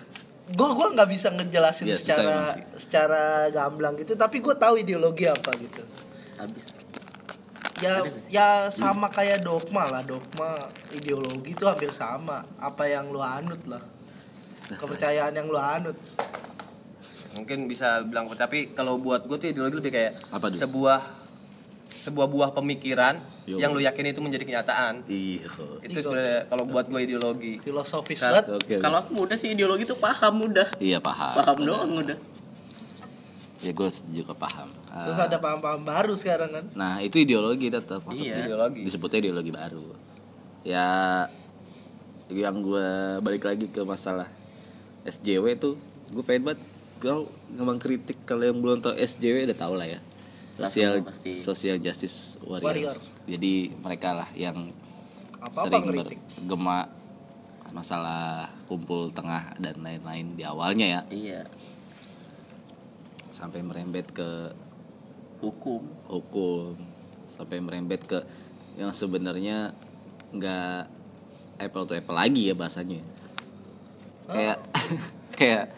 [SPEAKER 3] Gua gua nggak bisa ngejelasin
[SPEAKER 1] Iya, susah
[SPEAKER 3] secara
[SPEAKER 1] emang sih.
[SPEAKER 3] secara gamblang gitu, tapi gua tahu ideologi apa gitu.
[SPEAKER 2] habis
[SPEAKER 3] ya ya sama kayak dogma lah dogma ideologi itu hampir sama apa yang lu anut lah
[SPEAKER 1] Nah.
[SPEAKER 3] kepercayaan yang lu anut
[SPEAKER 4] Mungkin bisa bilang tapi kalau buat gue tuh ideologi lebih kayak
[SPEAKER 1] Apa tuh?
[SPEAKER 4] sebuah sebuah buah pemikiran
[SPEAKER 1] Yo.
[SPEAKER 4] yang lu yakini itu menjadi kenyataan.
[SPEAKER 1] Iya.
[SPEAKER 4] Itu sebenarnya kalau buat gue ideologi.
[SPEAKER 3] filosofis
[SPEAKER 2] Kan-
[SPEAKER 3] banget
[SPEAKER 1] Oke.
[SPEAKER 2] kalau aku muda sih ideologi tuh paham udah
[SPEAKER 1] Iya paham.
[SPEAKER 2] paham doang udah
[SPEAKER 1] Ya gue juga paham. Ah,
[SPEAKER 3] terus ada paham-paham baru sekarang kan
[SPEAKER 1] Nah itu ideologi tetap masuk
[SPEAKER 2] Iya.
[SPEAKER 4] Ideologi.
[SPEAKER 1] disebutnya ideologi baru ya yang gue balik lagi ke masalah SJW tuh gue pengen banget gue ngomong kritik kalau yang belum tau SJW udah tau lah ya sosial
[SPEAKER 2] Langsung pasti.
[SPEAKER 1] social justice warrior,
[SPEAKER 3] Warrior.
[SPEAKER 1] jadi mereka lah yang
[SPEAKER 3] apa apa
[SPEAKER 1] sering
[SPEAKER 3] ngeritik
[SPEAKER 1] bergema masalah kumpul tengah dan lain-lain di awalnya ya
[SPEAKER 2] iya
[SPEAKER 1] sampai merembet ke
[SPEAKER 2] hukum
[SPEAKER 1] hukum sampai merembet ke yang sebenarnya nggak apple to apple lagi ya bahasanya kayak kayak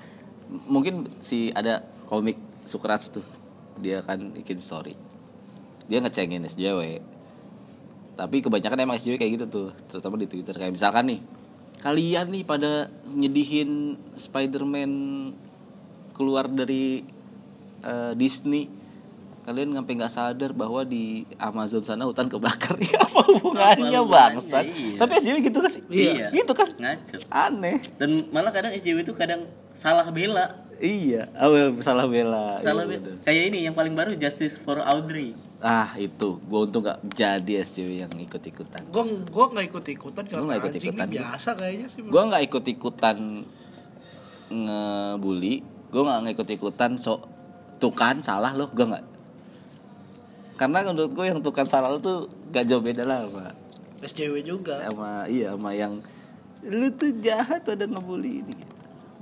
[SPEAKER 1] mungkin si ada komik Sokrates tuh dia kan bikin story dia ngecengin SJW tapi kebanyakan emang SJW kayak gitu tuh terutama di Twitter kayak misalkan nih kalian nih pada nyedihin Spider-Man keluar dari eh, Disney kalian sampai nggak sadar bahwa di Amazon sana hutan kebakar ya apa hubungannya
[SPEAKER 2] hubungannya,
[SPEAKER 1] bangsa
[SPEAKER 2] iya.
[SPEAKER 1] tapi SJW gitu kan sih
[SPEAKER 2] Iya.
[SPEAKER 1] gitu kan
[SPEAKER 2] ngaco
[SPEAKER 1] aneh
[SPEAKER 2] dan malah kadang SJW itu kadang salah bela
[SPEAKER 1] Iya, awal salah bela.
[SPEAKER 2] salah
[SPEAKER 1] Iya,
[SPEAKER 2] bela
[SPEAKER 1] bener.
[SPEAKER 2] kayak ini yang paling baru Justice for Audrey
[SPEAKER 1] Ah itu, gue untung gak jadi SJW yang ikut ikutan.
[SPEAKER 3] gua gua nggak ikut ikutan karena
[SPEAKER 1] nggak
[SPEAKER 3] anjing
[SPEAKER 1] ikut-ikutan.
[SPEAKER 3] ini biasa kayaknya sih
[SPEAKER 1] Gue nggak ikut ikutan ngebully, gue nggak ngikut ikutan sok tuh kan salah loh, gue nggak. karena menurut gue yang tukang salah tuh gak jauh beda lah sama
[SPEAKER 3] SJW juga
[SPEAKER 1] sama iya sama yang lu tuh jahat udah ngebully ini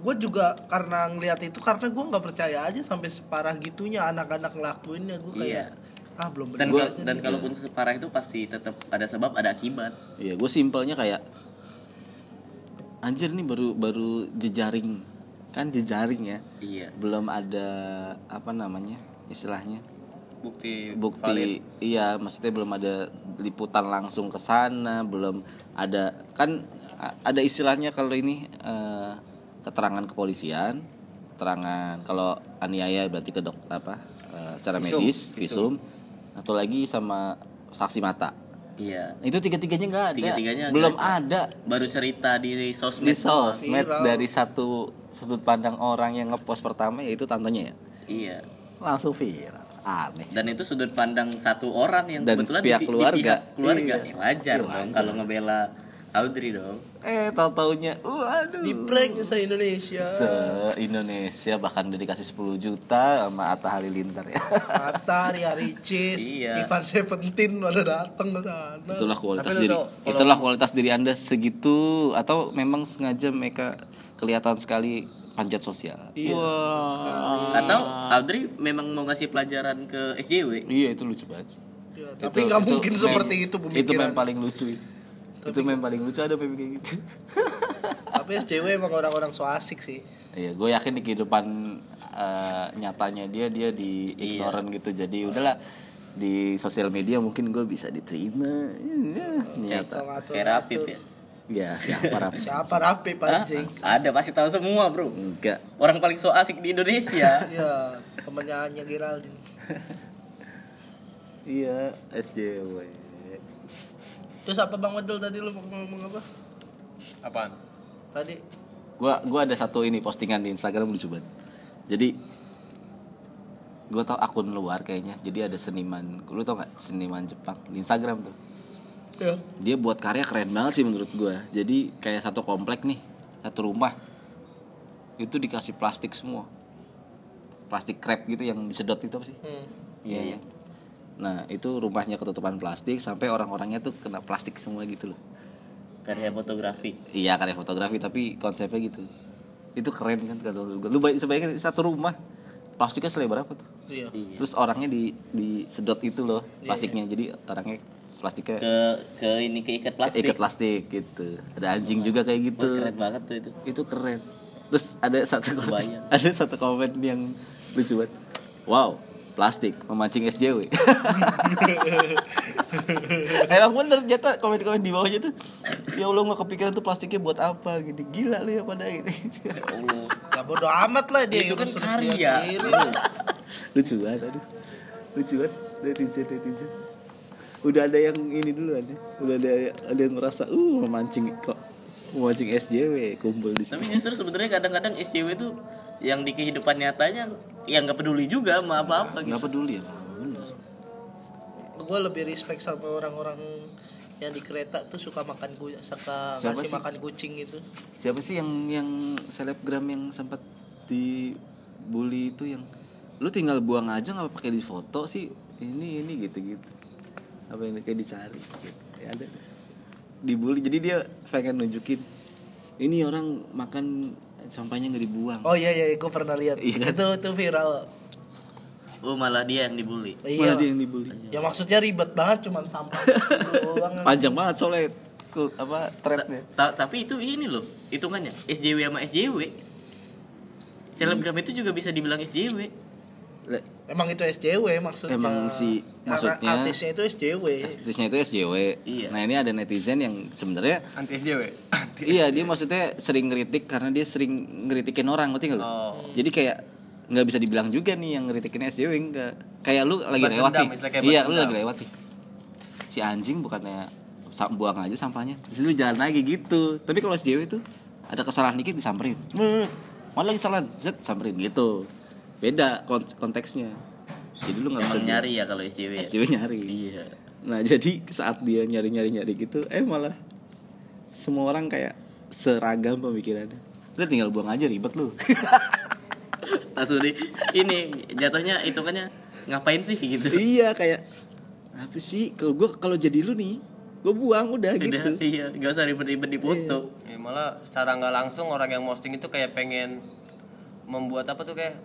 [SPEAKER 3] gue juga karena ngeliat itu karena gue nggak percaya aja sampai separah gitunya anak-anak ngelakuinnya gue
[SPEAKER 1] Iya.
[SPEAKER 3] kayak ah belum
[SPEAKER 2] dan
[SPEAKER 3] bener
[SPEAKER 2] kal-
[SPEAKER 3] aja
[SPEAKER 2] dan
[SPEAKER 3] nih.
[SPEAKER 2] kalaupun separah itu pasti tetap ada sebab ada akibat
[SPEAKER 1] iya gue simpelnya kayak anjir nih baru baru jejaring kan jejaring ya
[SPEAKER 2] iya
[SPEAKER 1] belum ada apa namanya istilahnya
[SPEAKER 4] bukti
[SPEAKER 1] bukti iya maksudnya belum ada liputan langsung ke sana belum ada kan a- ada istilahnya kalau ini eh, keterangan kepolisian keterangan kalau aniaya berarti ke dok apa eh, secara
[SPEAKER 4] Visum,
[SPEAKER 1] medis visum atau lagi sama saksi mata
[SPEAKER 2] iya
[SPEAKER 1] itu tiga tiganya nggak ada
[SPEAKER 2] Tiga-tiganya
[SPEAKER 1] belum
[SPEAKER 2] nggak
[SPEAKER 1] ada
[SPEAKER 2] baru cerita di sosmed
[SPEAKER 1] di sosmed
[SPEAKER 3] viral.
[SPEAKER 1] dari satu sudut pandang orang yang ngepost pertama yaitu tantenya ya
[SPEAKER 2] iya
[SPEAKER 1] langsung viral aneh
[SPEAKER 2] dan itu sudut pandang satu orang yang
[SPEAKER 1] Dan
[SPEAKER 2] kebetulan
[SPEAKER 1] pihak
[SPEAKER 2] di, si- di
[SPEAKER 1] keluarga.
[SPEAKER 2] pihak
[SPEAKER 1] Iya.
[SPEAKER 2] keluarga Ya, wajar dong kalau ngebela Audrey dong
[SPEAKER 1] eh tau taunya waduh
[SPEAKER 3] di prank se Indonesia
[SPEAKER 1] se Indonesia bahkan udah dikasih 10 juta sama Atta Halilintar ya
[SPEAKER 3] Atar, ya Ricis,
[SPEAKER 2] Iya.
[SPEAKER 3] Ivan Seventeen pada dateng ke sana.
[SPEAKER 1] itulah kualitas
[SPEAKER 4] Tapi lu
[SPEAKER 1] diri
[SPEAKER 4] tau, kalau-
[SPEAKER 1] itulah kualitas diri anda segitu atau memang sengaja mereka kelihatan sekali panjat sosial
[SPEAKER 3] Iya,
[SPEAKER 1] Wah.
[SPEAKER 2] atau Audrey memang mau ngasih pelajaran ke SJW
[SPEAKER 1] iya itu lucu banget sih.
[SPEAKER 3] Ya, tapi
[SPEAKER 1] Itu-
[SPEAKER 3] nggak
[SPEAKER 1] itu
[SPEAKER 3] mungkin
[SPEAKER 1] meme-
[SPEAKER 3] seperti itu
[SPEAKER 1] itu
[SPEAKER 3] pemikiran.
[SPEAKER 1] meme paling lucu itu meme paling lucu ada meme kayak gitu
[SPEAKER 3] tapi SJW emang orang-orang so asik sih.
[SPEAKER 1] Iya, gue yakin di kehidupan eh, nyatanya dia dia di ignoran gitu. Jadi udahlah di sosial media mungkin gue bisa diterima.
[SPEAKER 3] So
[SPEAKER 1] Nyata.
[SPEAKER 3] ngatur-
[SPEAKER 2] kayak Rapip ya
[SPEAKER 1] Ya, siapa Rap?
[SPEAKER 3] Siapa rapi
[SPEAKER 2] Hah?
[SPEAKER 3] pancing?
[SPEAKER 2] ada pasti tahu semua bro
[SPEAKER 1] Enggak.
[SPEAKER 2] orang paling so asik di Indonesia
[SPEAKER 3] Ya, temennya Anya Geraldine.
[SPEAKER 1] Iya, SJW.
[SPEAKER 3] Terus apa Bang Wedul tadi lu mau ngomong apa?
[SPEAKER 4] apaan
[SPEAKER 3] Tadi
[SPEAKER 1] Gua gua ada satu ini postingan di Instagram lucu banget. Jadi gue tau akun luar kayaknya. Jadi ada seniman, lu tau gak seniman Jepang di Instagram tuh.
[SPEAKER 2] Iya.
[SPEAKER 3] ya,
[SPEAKER 1] dia buat karya keren banget sih menurut gua jadi kayak satu komplek nih satu rumah itu dikasih plastik semua plastik crap gitu yang disedot itu apa sih
[SPEAKER 3] hmm.
[SPEAKER 1] iya iya. nah itu rumahnya ketutupan plastik sampai orang-orangnya tuh kena plastik semua gitu loh
[SPEAKER 2] karya fotografi
[SPEAKER 1] iya karya fotografi tapi konsepnya gitu itu keren kan kata menurut gua. lu bay- bisa bayangin satu rumah plastiknya selebar apa tuh
[SPEAKER 3] iya.
[SPEAKER 1] terus orangnya di disedot itu
[SPEAKER 2] Iya,
[SPEAKER 1] loh plastiknya jadi orangnya plastiknya
[SPEAKER 2] ke ke ini ke ikat plastik Iya.
[SPEAKER 1] ikat plastik gitu ada anjing juga kayak
[SPEAKER 2] Wah,
[SPEAKER 1] gitu
[SPEAKER 2] keren banget tuh itu
[SPEAKER 1] itu keren terus ada satu komen,
[SPEAKER 2] Kebayang.
[SPEAKER 1] ada satu komen yang lucu banget wow plastik memancing SJW emang bener jatah komen-komen di bawahnya tuh ya Allah nggak kepikiran tuh plastiknya buat apa gini gila lu ya pada gini
[SPEAKER 2] ya Allah
[SPEAKER 3] Ya bodo amat lah dia
[SPEAKER 2] Itu kan
[SPEAKER 3] urus-urus
[SPEAKER 2] karya.
[SPEAKER 3] dia sendiri.
[SPEAKER 1] lucu banget aduh lucu banget netizen netizen udah ada yang ini dulu ada udah ada ada yang ngerasa uh memancing kok memancing SJW kumpul di
[SPEAKER 2] tapi
[SPEAKER 1] sini
[SPEAKER 2] justru sebenarnya kadang-kadang SJW itu yang di kehidupan nyatanya yang nggak peduli juga sama apa-apa gitu
[SPEAKER 1] nggak peduli ya bener
[SPEAKER 3] Gue lebih respect sama orang-orang yang di kereta tuh suka makan kucing, suka
[SPEAKER 1] Siapa
[SPEAKER 3] ngasih
[SPEAKER 1] sih? Hmm.
[SPEAKER 3] makan kucing gitu.
[SPEAKER 1] siapa sih yang yang selebgram yang sempat dibully itu yang lu tinggal buang aja nggak pakai di foto sih ini ini gitu gitu apa yang kayak dicari gitu. ya ada deh. dibully jadi dia pengen nunjukin ini orang makan sampahnya nggak dibuang
[SPEAKER 3] Oh iya iya, gue pernah lihat.
[SPEAKER 1] Iya.
[SPEAKER 3] Itu itu viral. Iya.
[SPEAKER 2] oh malah dia yang dibully
[SPEAKER 1] malah dia yang dibully
[SPEAKER 3] Ya maksudnya ribet banget cuman sampah gitu doang.
[SPEAKER 1] panjang banget soalnya tuh, apa threadnya
[SPEAKER 2] Ta- tapi itu ini loh hitungannya SJW sama SJW selebgram itu juga bisa dibilang SJW
[SPEAKER 1] Le-
[SPEAKER 3] Emang itu SJW maksudnya.
[SPEAKER 1] Emang si-
[SPEAKER 3] Karena
[SPEAKER 1] maksudnya-
[SPEAKER 3] artisnya itu SJW.
[SPEAKER 1] artisnya itu SJW
[SPEAKER 2] Iya.
[SPEAKER 1] nah ini ada netizen yang sebenarnya
[SPEAKER 4] anti SJW
[SPEAKER 1] Iya dia maksudnya sering ngeritik karena dia sering ngeritikin orang ngerti nggak lu? Jadi kayak nggak bisa dibilang juga nih yang ngeritikin SJW enggak. Kayak lu lagi
[SPEAKER 4] Balas
[SPEAKER 1] lewat
[SPEAKER 4] dendam,
[SPEAKER 1] nih.
[SPEAKER 4] istilah kayak
[SPEAKER 1] Iya
[SPEAKER 4] balas
[SPEAKER 1] lu
[SPEAKER 4] dendam.
[SPEAKER 1] lagi lewat nih. Si anjing bukannya sa- buang aja sampahnya. Terus lu jalan lagi gitu. Tapi kalau SJW itu ada kesalahan dikit disamperin. "Eh, Mana lagi kesalahan? Zet, samperin gitu. Beda kont- konteksnya. Jadi lu nggak bisa
[SPEAKER 2] emang nyari ya kalau SJW ya?
[SPEAKER 1] SJW nyari.
[SPEAKER 2] iya
[SPEAKER 1] Nah jadi saat dia nyari nyari nyari gitu, eh malah semua orang kayak seragam pemikirannya. Udah tinggal buang aja ribet lu.
[SPEAKER 2] Pak Sudi ini jatuhnya hitungannya ngapain sih gitu
[SPEAKER 1] iya kayak apa sih kalau gue kalau jadi lu nih gue buang udah
[SPEAKER 2] Udah,
[SPEAKER 1] gitu
[SPEAKER 2] iya nggak usah ribet-ribet di foto
[SPEAKER 4] Ya, malah secara nggak langsung orang yang posting itu kayak pengen membuat apa tuh kayak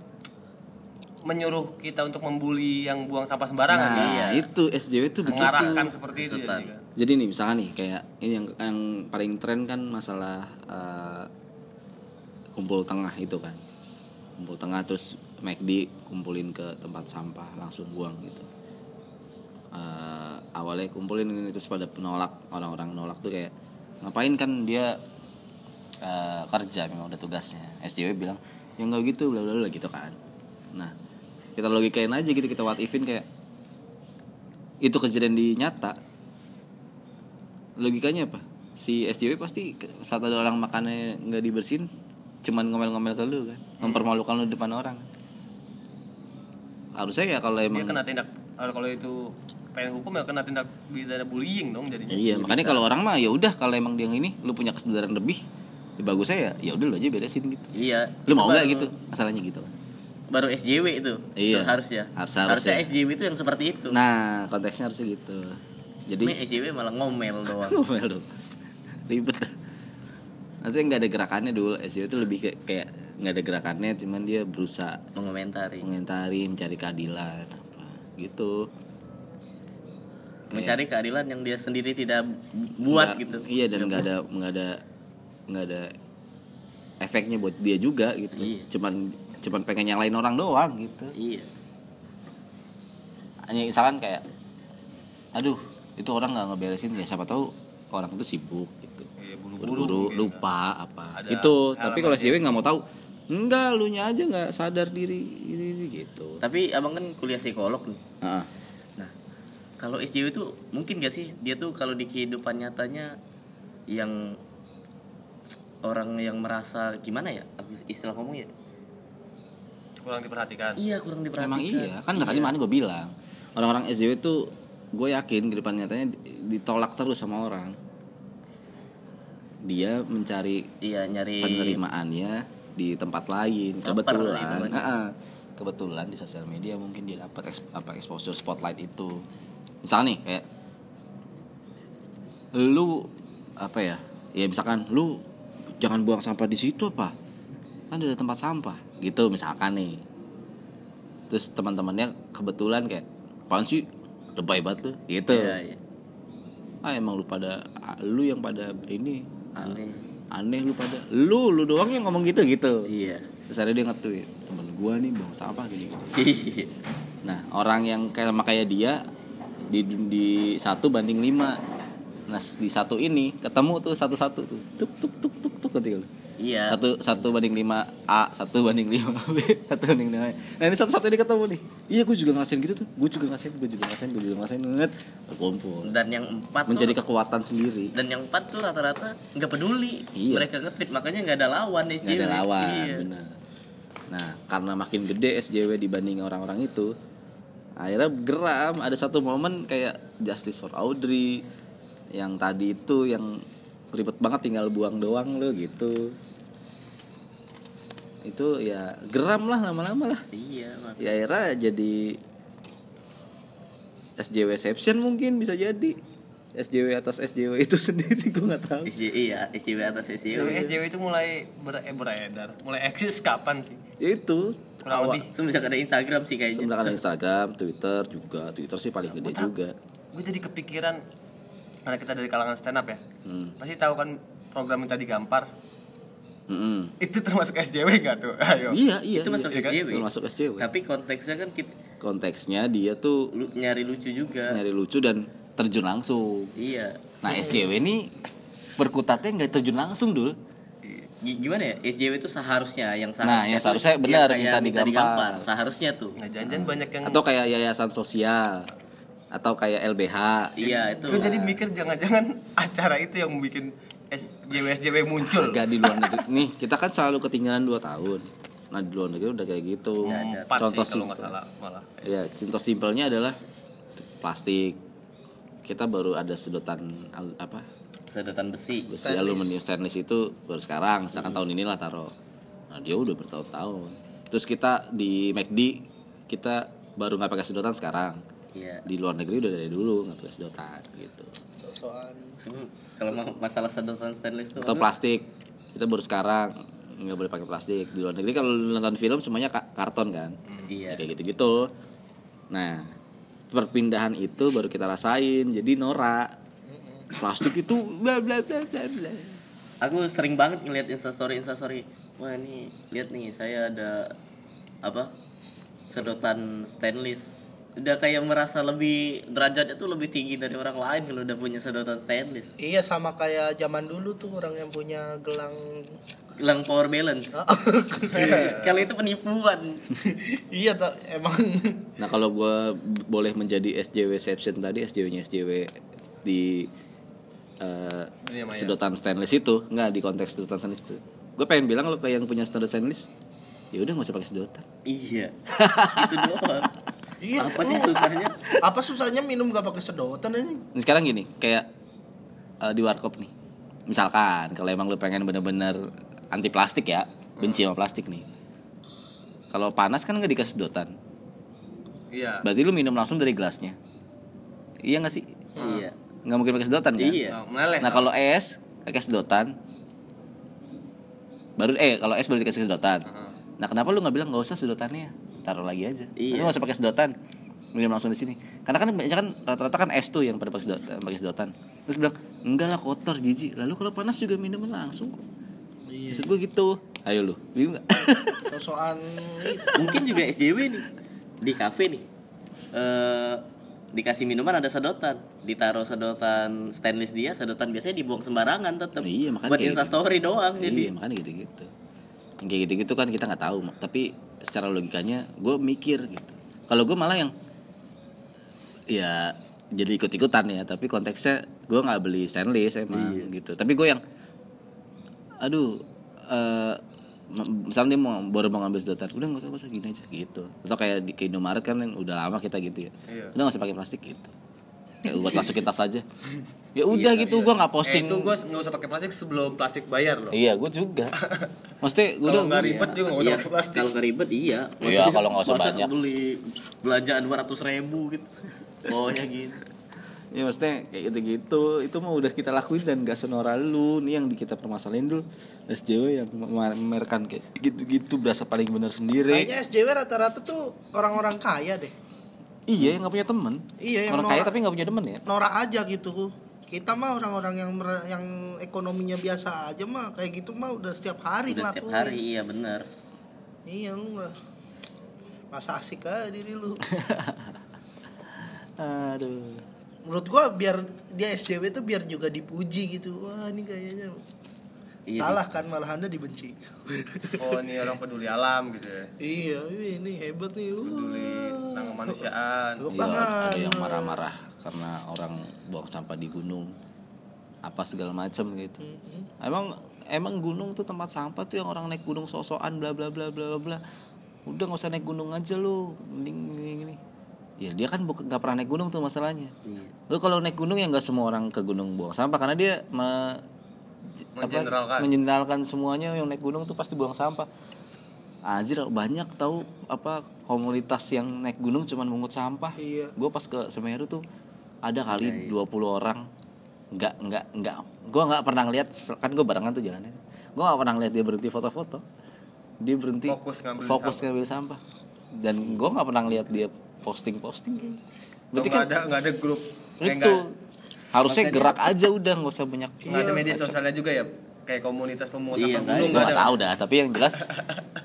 [SPEAKER 4] menyuruh kita untuk membuli yang buang sampah sembarangan
[SPEAKER 1] nah
[SPEAKER 4] kan?
[SPEAKER 1] itu SJW tuh begitu
[SPEAKER 4] mengarahkan seperti itu ya,
[SPEAKER 2] Kesutan.
[SPEAKER 4] juga.
[SPEAKER 1] jadi nih misalkan nih kayak ini yang yang paling tren kan masalah eh, kumpul tengah itu kan kumpul tengah terus McD kumpulin ke tempat sampah langsung buang gitu Eh, awalnya kumpulin ini terus pada penolak orang-orang nolak tuh kayak ngapain kan dia eh, kerja memang udah tugasnya SJW bilang ya nggak gitu bla bla bla gitu kan nah kita logikain aja gitu kita what ifin kayak itu kejadian di nyata logikanya apa si SJW pasti ke- saat ada orang makannya nggak dibersihin cuman ngomel-ngomel ke lu kan
[SPEAKER 4] Hmm.
[SPEAKER 1] mempermalukan lu di depan orang harusnya ya kalau
[SPEAKER 4] dia
[SPEAKER 1] emang
[SPEAKER 4] kena tindak kalau kalau itu pengen hukum ya kena tindak pidana bullying dong jadinya
[SPEAKER 1] iya makanya kalau orang mah ya udah kalau emang dia yang ini lu punya kesadaran lebih ya bagusnya ya ya udah lu aja beresin gitu
[SPEAKER 2] iya
[SPEAKER 1] lu mau
[SPEAKER 2] Itu
[SPEAKER 1] nggak
[SPEAKER 2] baru-
[SPEAKER 1] gitu masalahnya gitu kan
[SPEAKER 2] baru SJW itu
[SPEAKER 1] Iya.
[SPEAKER 2] harusnya
[SPEAKER 1] Harus-
[SPEAKER 2] harusnya
[SPEAKER 1] harusnya.
[SPEAKER 2] SJW itu yang seperti itu
[SPEAKER 1] nah konteksnya harusnya gitu jadi
[SPEAKER 2] ini SJW malah ngomel doang
[SPEAKER 1] ngomel dong ribet maksudnya nggak ada gerakannya dulu SJW itu lebih kayak kayak nggak ada gerakannya cuman dia berusaha
[SPEAKER 2] mengomentari
[SPEAKER 1] mengomentari mencari keadilan apa gitu
[SPEAKER 2] mencari keadilan yang dia sendiri tidak buat
[SPEAKER 1] Nggak-
[SPEAKER 2] gitu
[SPEAKER 1] iya dan nggak ada nggak ada nggak ada efeknya buat dia juga gitu
[SPEAKER 2] Iya.
[SPEAKER 1] cuman cuman pengen nyalain orang doang gitu
[SPEAKER 2] iya
[SPEAKER 1] hanya misalkan kayak aduh itu orang nggak ngeberesin ya siapa tahu orang itu sibuk gitu
[SPEAKER 4] Iya, buru-buru
[SPEAKER 1] buru-buru
[SPEAKER 4] mungkin.
[SPEAKER 1] lupa apa
[SPEAKER 4] Ada
[SPEAKER 1] gitu
[SPEAKER 4] hal
[SPEAKER 1] tapi kalau si cewek nggak mau tahu enggak lu nya aja nggak sadar diri ini, ini, gitu
[SPEAKER 2] tapi abang kan kuliah psikolog nih
[SPEAKER 1] Heeh.
[SPEAKER 2] nah kalau SJW itu mungkin gak sih dia tuh kalau di kehidupan nyatanya yang orang yang merasa gimana ya aku istilah ngomong ya
[SPEAKER 4] kurang diperhatikan
[SPEAKER 2] iya kurang diperhatikan
[SPEAKER 1] Emang iya, kan nggak tadi mana gue bilang orang-orang SJW tuh gue yakin ke depan nyatanya di- ditolak terus sama orang. Dia mencari
[SPEAKER 2] iya nyari
[SPEAKER 1] penerimaannya di tempat lain.
[SPEAKER 2] Cover itu
[SPEAKER 1] Kebetulan,
[SPEAKER 2] banyak.
[SPEAKER 1] Heeh. kebetulan di sosial media mungkin dia dapat eks- apa exposure spotlight itu. Misal nih kayak lu apa ya? Ya misalkan lu jangan buang sampah di situ apa? Kan ada tempat sampah gitu misalkan nih terus teman-temannya kebetulan kayak apaan sih lebay banget lu gitu
[SPEAKER 2] iya, iya.
[SPEAKER 1] ah emang lu pada lu yang pada ini
[SPEAKER 2] Aneh.
[SPEAKER 1] aneh lu pada lu lu doang yang ngomong gitu gitu
[SPEAKER 2] iya
[SPEAKER 1] terus akhirnya dia nge-tweet temen gua nih bang sampah gini
[SPEAKER 2] Iya.
[SPEAKER 1] nah orang yang kayak sama kayak dia di di satu banding lima nah di satu ini ketemu tuh satu satu tuh tuk tuk tuk tuk tuk ketika lu
[SPEAKER 2] iya
[SPEAKER 1] satu satu banding lima a satu banding lima b satu banding lima nah ini satu satu ini ketemu nih iya gue juga ngerasain gitu tuh gue juga ngerasain gue juga ngerasain gue juga ngerasain net kumpul
[SPEAKER 2] dan yang empat tuh-
[SPEAKER 1] menjadi kekuatan sendiri
[SPEAKER 2] dan yang empat tuh rata-rata nggak peduli
[SPEAKER 1] Iya.
[SPEAKER 2] mereka ngetweet makanya nggak ada lawan di
[SPEAKER 1] nggak
[SPEAKER 2] sini.
[SPEAKER 1] ada lawan
[SPEAKER 2] Iya.
[SPEAKER 1] bener nah karena makin gede SJW dibanding orang-orang itu akhirnya geram ada satu momen kayak Justice for Audrey yang tadi itu yang ribet banget tinggal buang doang lo gitu itu ya geram lah lama-lama lah
[SPEAKER 2] iya mak-
[SPEAKER 1] ya akhirnya jadi SJW exception mungkin bisa jadi SJW atas SJW itu sendiri gue nggak tahu
[SPEAKER 2] SJ, iya SJW atas SJW
[SPEAKER 4] Tapi
[SPEAKER 1] Iya.
[SPEAKER 4] SJW itu mulai ber- eh, beredar mulai eksis kapan sih
[SPEAKER 1] ya itu
[SPEAKER 4] kurang lebih
[SPEAKER 2] semenjak ada Instagram sih kayaknya
[SPEAKER 1] sebenarnya ada Instagram Twitter juga Twitter sih paling gede juga
[SPEAKER 4] gue jadi kepikiran karena kita dari kalangan stand up ya
[SPEAKER 1] Hmm.
[SPEAKER 4] pasti tahu kan program yang tadi gampar
[SPEAKER 1] Mm-mm.
[SPEAKER 4] itu termasuk SJW gak tuh ayo
[SPEAKER 1] iya iya
[SPEAKER 2] itu
[SPEAKER 1] iya.
[SPEAKER 2] masuk
[SPEAKER 4] iya kan?
[SPEAKER 2] SJW
[SPEAKER 1] Itu masuk SJW
[SPEAKER 2] tapi konteksnya kan kita
[SPEAKER 1] konteksnya dia tuh
[SPEAKER 2] lu, nyari lucu
[SPEAKER 4] Iya.
[SPEAKER 2] juga
[SPEAKER 1] nyari lucu dan terjun langsung
[SPEAKER 2] iya
[SPEAKER 1] nah SJW ini berkutatnya nggak terjun langsung dul
[SPEAKER 4] Eh.
[SPEAKER 2] G- gimana ya SJW itu seharusnya yang seharusnya
[SPEAKER 1] Nah, yang Iya.
[SPEAKER 2] tuh
[SPEAKER 1] seharusnya
[SPEAKER 2] yang
[SPEAKER 1] benar,
[SPEAKER 2] kayak
[SPEAKER 1] minta digampar.
[SPEAKER 2] seharusnya tuh
[SPEAKER 4] nggak janjian banyak yang
[SPEAKER 1] atau kayak yayasan sosial atau kayak LBH
[SPEAKER 2] iya itu
[SPEAKER 4] gue jadi mikir jangan-jangan acara itu yang bikin SJW SJW muncul
[SPEAKER 1] Gak di luar negeri. Nih, kita kan selalu ketinggalan 2 tahun. Nah, di luar negeri udah kayak gitu.
[SPEAKER 4] empat
[SPEAKER 1] Contoh
[SPEAKER 4] Iya, sih kalau nggak
[SPEAKER 1] simpel.
[SPEAKER 4] salah malah
[SPEAKER 1] Ya, contoh simpelnya adalah plastik. Kita baru ada sedotan al- apa?
[SPEAKER 2] sedotan besi
[SPEAKER 1] Besi aluminium stainless itu baru sekarang, sedangkan tahun inilah taruh. Nah, dia udah bertahun-tahun. Terus kita di McD kita baru nggak pakai sedotan sekarang
[SPEAKER 2] Iya.
[SPEAKER 1] di luar negeri udah dari dulu nggak pakai sedotan gitu
[SPEAKER 3] sosokan
[SPEAKER 2] Sebenarnya Kalau mau masalah sedotan stainless tuh
[SPEAKER 1] atau plastik kita baru sekarang nggak boleh pakai plastik di luar negeri kalau lu nonton film semuanya ka- karton kan Ya,
[SPEAKER 2] Iya.
[SPEAKER 1] kayak gitu gitu nah perpindahan itu baru kita rasain jadi norak plastik itu bla bla bla bla bla
[SPEAKER 2] aku sering banget ngeliat instastory instastory wah ini lihat nih saya ada apa sedotan stainless udah kayak merasa lebih derajatnya tuh lebih tinggi dari orang lain kalau udah punya sedotan stainless
[SPEAKER 3] iya sama kayak zaman dulu tuh orang yang punya gelang
[SPEAKER 2] hilang power balance kalau itu penipuan
[SPEAKER 3] iya tuh emang
[SPEAKER 1] nah kalau gua b- boleh menjadi SJW exception tadi SJW nya SJW di eh,
[SPEAKER 4] Dunia maya.
[SPEAKER 1] sedotan stainless itu nggak di konteks sedotan stainless itu gue pengen bilang lo ke yang punya sedotan stainless ya udah nggak usah pakai sedotan
[SPEAKER 2] iya itu doang
[SPEAKER 3] Iya.
[SPEAKER 2] apa sih susahnya
[SPEAKER 3] apa susahnya minum gak pakai sedotan ini
[SPEAKER 1] Nah, sekarang gini kayak eh, di warkop nih misalkan kalau emang lu pengen bener-bener anti plastik ya benci sama plastik nih kalau panas kan nggak dikasih sedotan
[SPEAKER 4] Iya.
[SPEAKER 1] berarti lu minum langsung dari gelasnya iya nggak sih
[SPEAKER 2] iya
[SPEAKER 1] nggak mungkin pakai sedotan kan
[SPEAKER 2] Iya.
[SPEAKER 4] Nah, meleleh.
[SPEAKER 1] nah kalau es pakai sedotan baru eh kalau es baru dikasih sedotan
[SPEAKER 4] Heeh.
[SPEAKER 1] nah kenapa lu nggak bilang nggak usah sedotannya taruh lagi aja
[SPEAKER 2] Iya.
[SPEAKER 1] lu nggak usah pakai sedotan minum langsung di sini karena kan banyak kan rata-rata kan es tuh yang pada pakai sedotan pakai sedotan terus bilang enggak lah kotor jijik lalu kalau panas juga minuman langsung kok maksud gue gitu ayo lu bingung nggak
[SPEAKER 3] sosokan
[SPEAKER 2] mungkin juga SJW nih di kafe nih eh dikasih minuman ada sedotan ditaruh sedotan stainless dia sedotan biasanya dibuang sembarangan tetap
[SPEAKER 1] Iya, makanya
[SPEAKER 2] buat
[SPEAKER 1] kayak
[SPEAKER 2] insta story doang
[SPEAKER 1] iya
[SPEAKER 2] jadi
[SPEAKER 1] makanya gitu-gitu Yang kayak gitu-gitu kan kita nggak tahu Mak. tapi secara logikanya gue mikir gitu kalau gue malah yang ya jadi ikut-ikutan ya tapi konteksnya gue nggak beli stainless emang gitu tapi gue yang aduh eh m- misalnya dia mau baru mau ngambil sedotan udah nggak usah nggak usah gini aja gitu atau kayak di ke Indomaret kan yang udah lama kita gitu ya
[SPEAKER 4] Iya.
[SPEAKER 1] udah nggak usah pakai plastik gitu kayak buat masukin tas aja ya udah gitu gue nggak posting
[SPEAKER 4] Eh, itu gue nggak usah pakai plastik sebelum plastik bayar loh.
[SPEAKER 1] Iya, gue juga. Maksudnya gue
[SPEAKER 4] Kalau
[SPEAKER 1] udah
[SPEAKER 4] nggak ribet juga nggak usah
[SPEAKER 2] Iya,
[SPEAKER 4] pakai plastik.
[SPEAKER 2] kalau nggak ribet iya
[SPEAKER 1] Iya, kalau nggak usah
[SPEAKER 2] masa
[SPEAKER 1] banyak.
[SPEAKER 2] beli belanjaan dua ratus ribu gitu pokoknya gitu
[SPEAKER 1] ya maksudnya kayak gitu-gitu itu mah udah kita lakuin dan gak sonora lu nih yang di kita permasalahin dulu SJW yang memamerkan kayak gitu-gitu berasa paling benar sendiri
[SPEAKER 3] kayaknya SJW rata-rata tuh orang-orang kaya deh
[SPEAKER 1] iya yang gak punya temen
[SPEAKER 3] Iya, yang
[SPEAKER 1] orang
[SPEAKER 3] norak.
[SPEAKER 1] kaya tapi gak punya temen ya
[SPEAKER 3] norak aja gitu kita mah orang-orang yang mer- yang ekonominya biasa aja mah kayak gitu mah udah setiap hari
[SPEAKER 2] udah setiap
[SPEAKER 3] ngelakuin.
[SPEAKER 2] hari iya bener
[SPEAKER 3] iya lu mah. masa asik aja diri lu
[SPEAKER 1] aduh
[SPEAKER 3] menurut gua biar dia SJW tuh biar juga dipuji gitu wah ini kayaknya
[SPEAKER 2] Iya.
[SPEAKER 3] salah kan malah anda dibenci
[SPEAKER 4] Oh ini orang peduli alam gitu ya.
[SPEAKER 3] iya wih, ini hebat nih
[SPEAKER 4] Peduli tentang kemanusiaan.
[SPEAKER 1] Iya, ada
[SPEAKER 3] Apaan?
[SPEAKER 1] yang marah-marah karena orang buang sampah di gunung apa segala macem gitu. Emang emang gunung tuh tempat sampah tuh yang orang naik gunung sosokan bla blah bla bla bla bla. Udah nggak usah naik gunung aja lu, mending gini gini. Ya dia kan bukan nggak pernah naik gunung tuh masalahnya. Lu kalau naik gunung ya nggak semua orang ke gunung buang sampah karena dia me, apa,
[SPEAKER 4] Mengeneralkan.
[SPEAKER 1] mengeneralkan semuanya yang naik gunung tuh pasti buang sampah. Anjir banyak tahu apa komunitas yang naik gunung cuman mungut sampah
[SPEAKER 3] Iya.
[SPEAKER 1] gue pas ke Semeru tuh ada kali 20 orang nggak nggak nggak gue nggak pernah ngeliat kan gue barengan tuh jalannya gue nggak pernah ngeliat dia berhenti foto-foto dia berhenti
[SPEAKER 4] Fokus ngambil
[SPEAKER 1] fokus ngambil sampah dan gue nggak pernah ngeliat dia posting-posting kayaknya.
[SPEAKER 4] Berarti
[SPEAKER 1] berarti kan
[SPEAKER 4] ada nggak ada grup. Kayak
[SPEAKER 1] itu
[SPEAKER 4] nggak-
[SPEAKER 1] harusnya gerak aja udah nggak usah banyak
[SPEAKER 4] nggak ada media sosialnya juga ya. Kayak komunitas pemungut
[SPEAKER 2] Iya,
[SPEAKER 4] sampah
[SPEAKER 2] nggak
[SPEAKER 1] gue
[SPEAKER 4] gunung nggak
[SPEAKER 1] Iya, nggak
[SPEAKER 4] ada.
[SPEAKER 1] tahu dah tapi yang jelas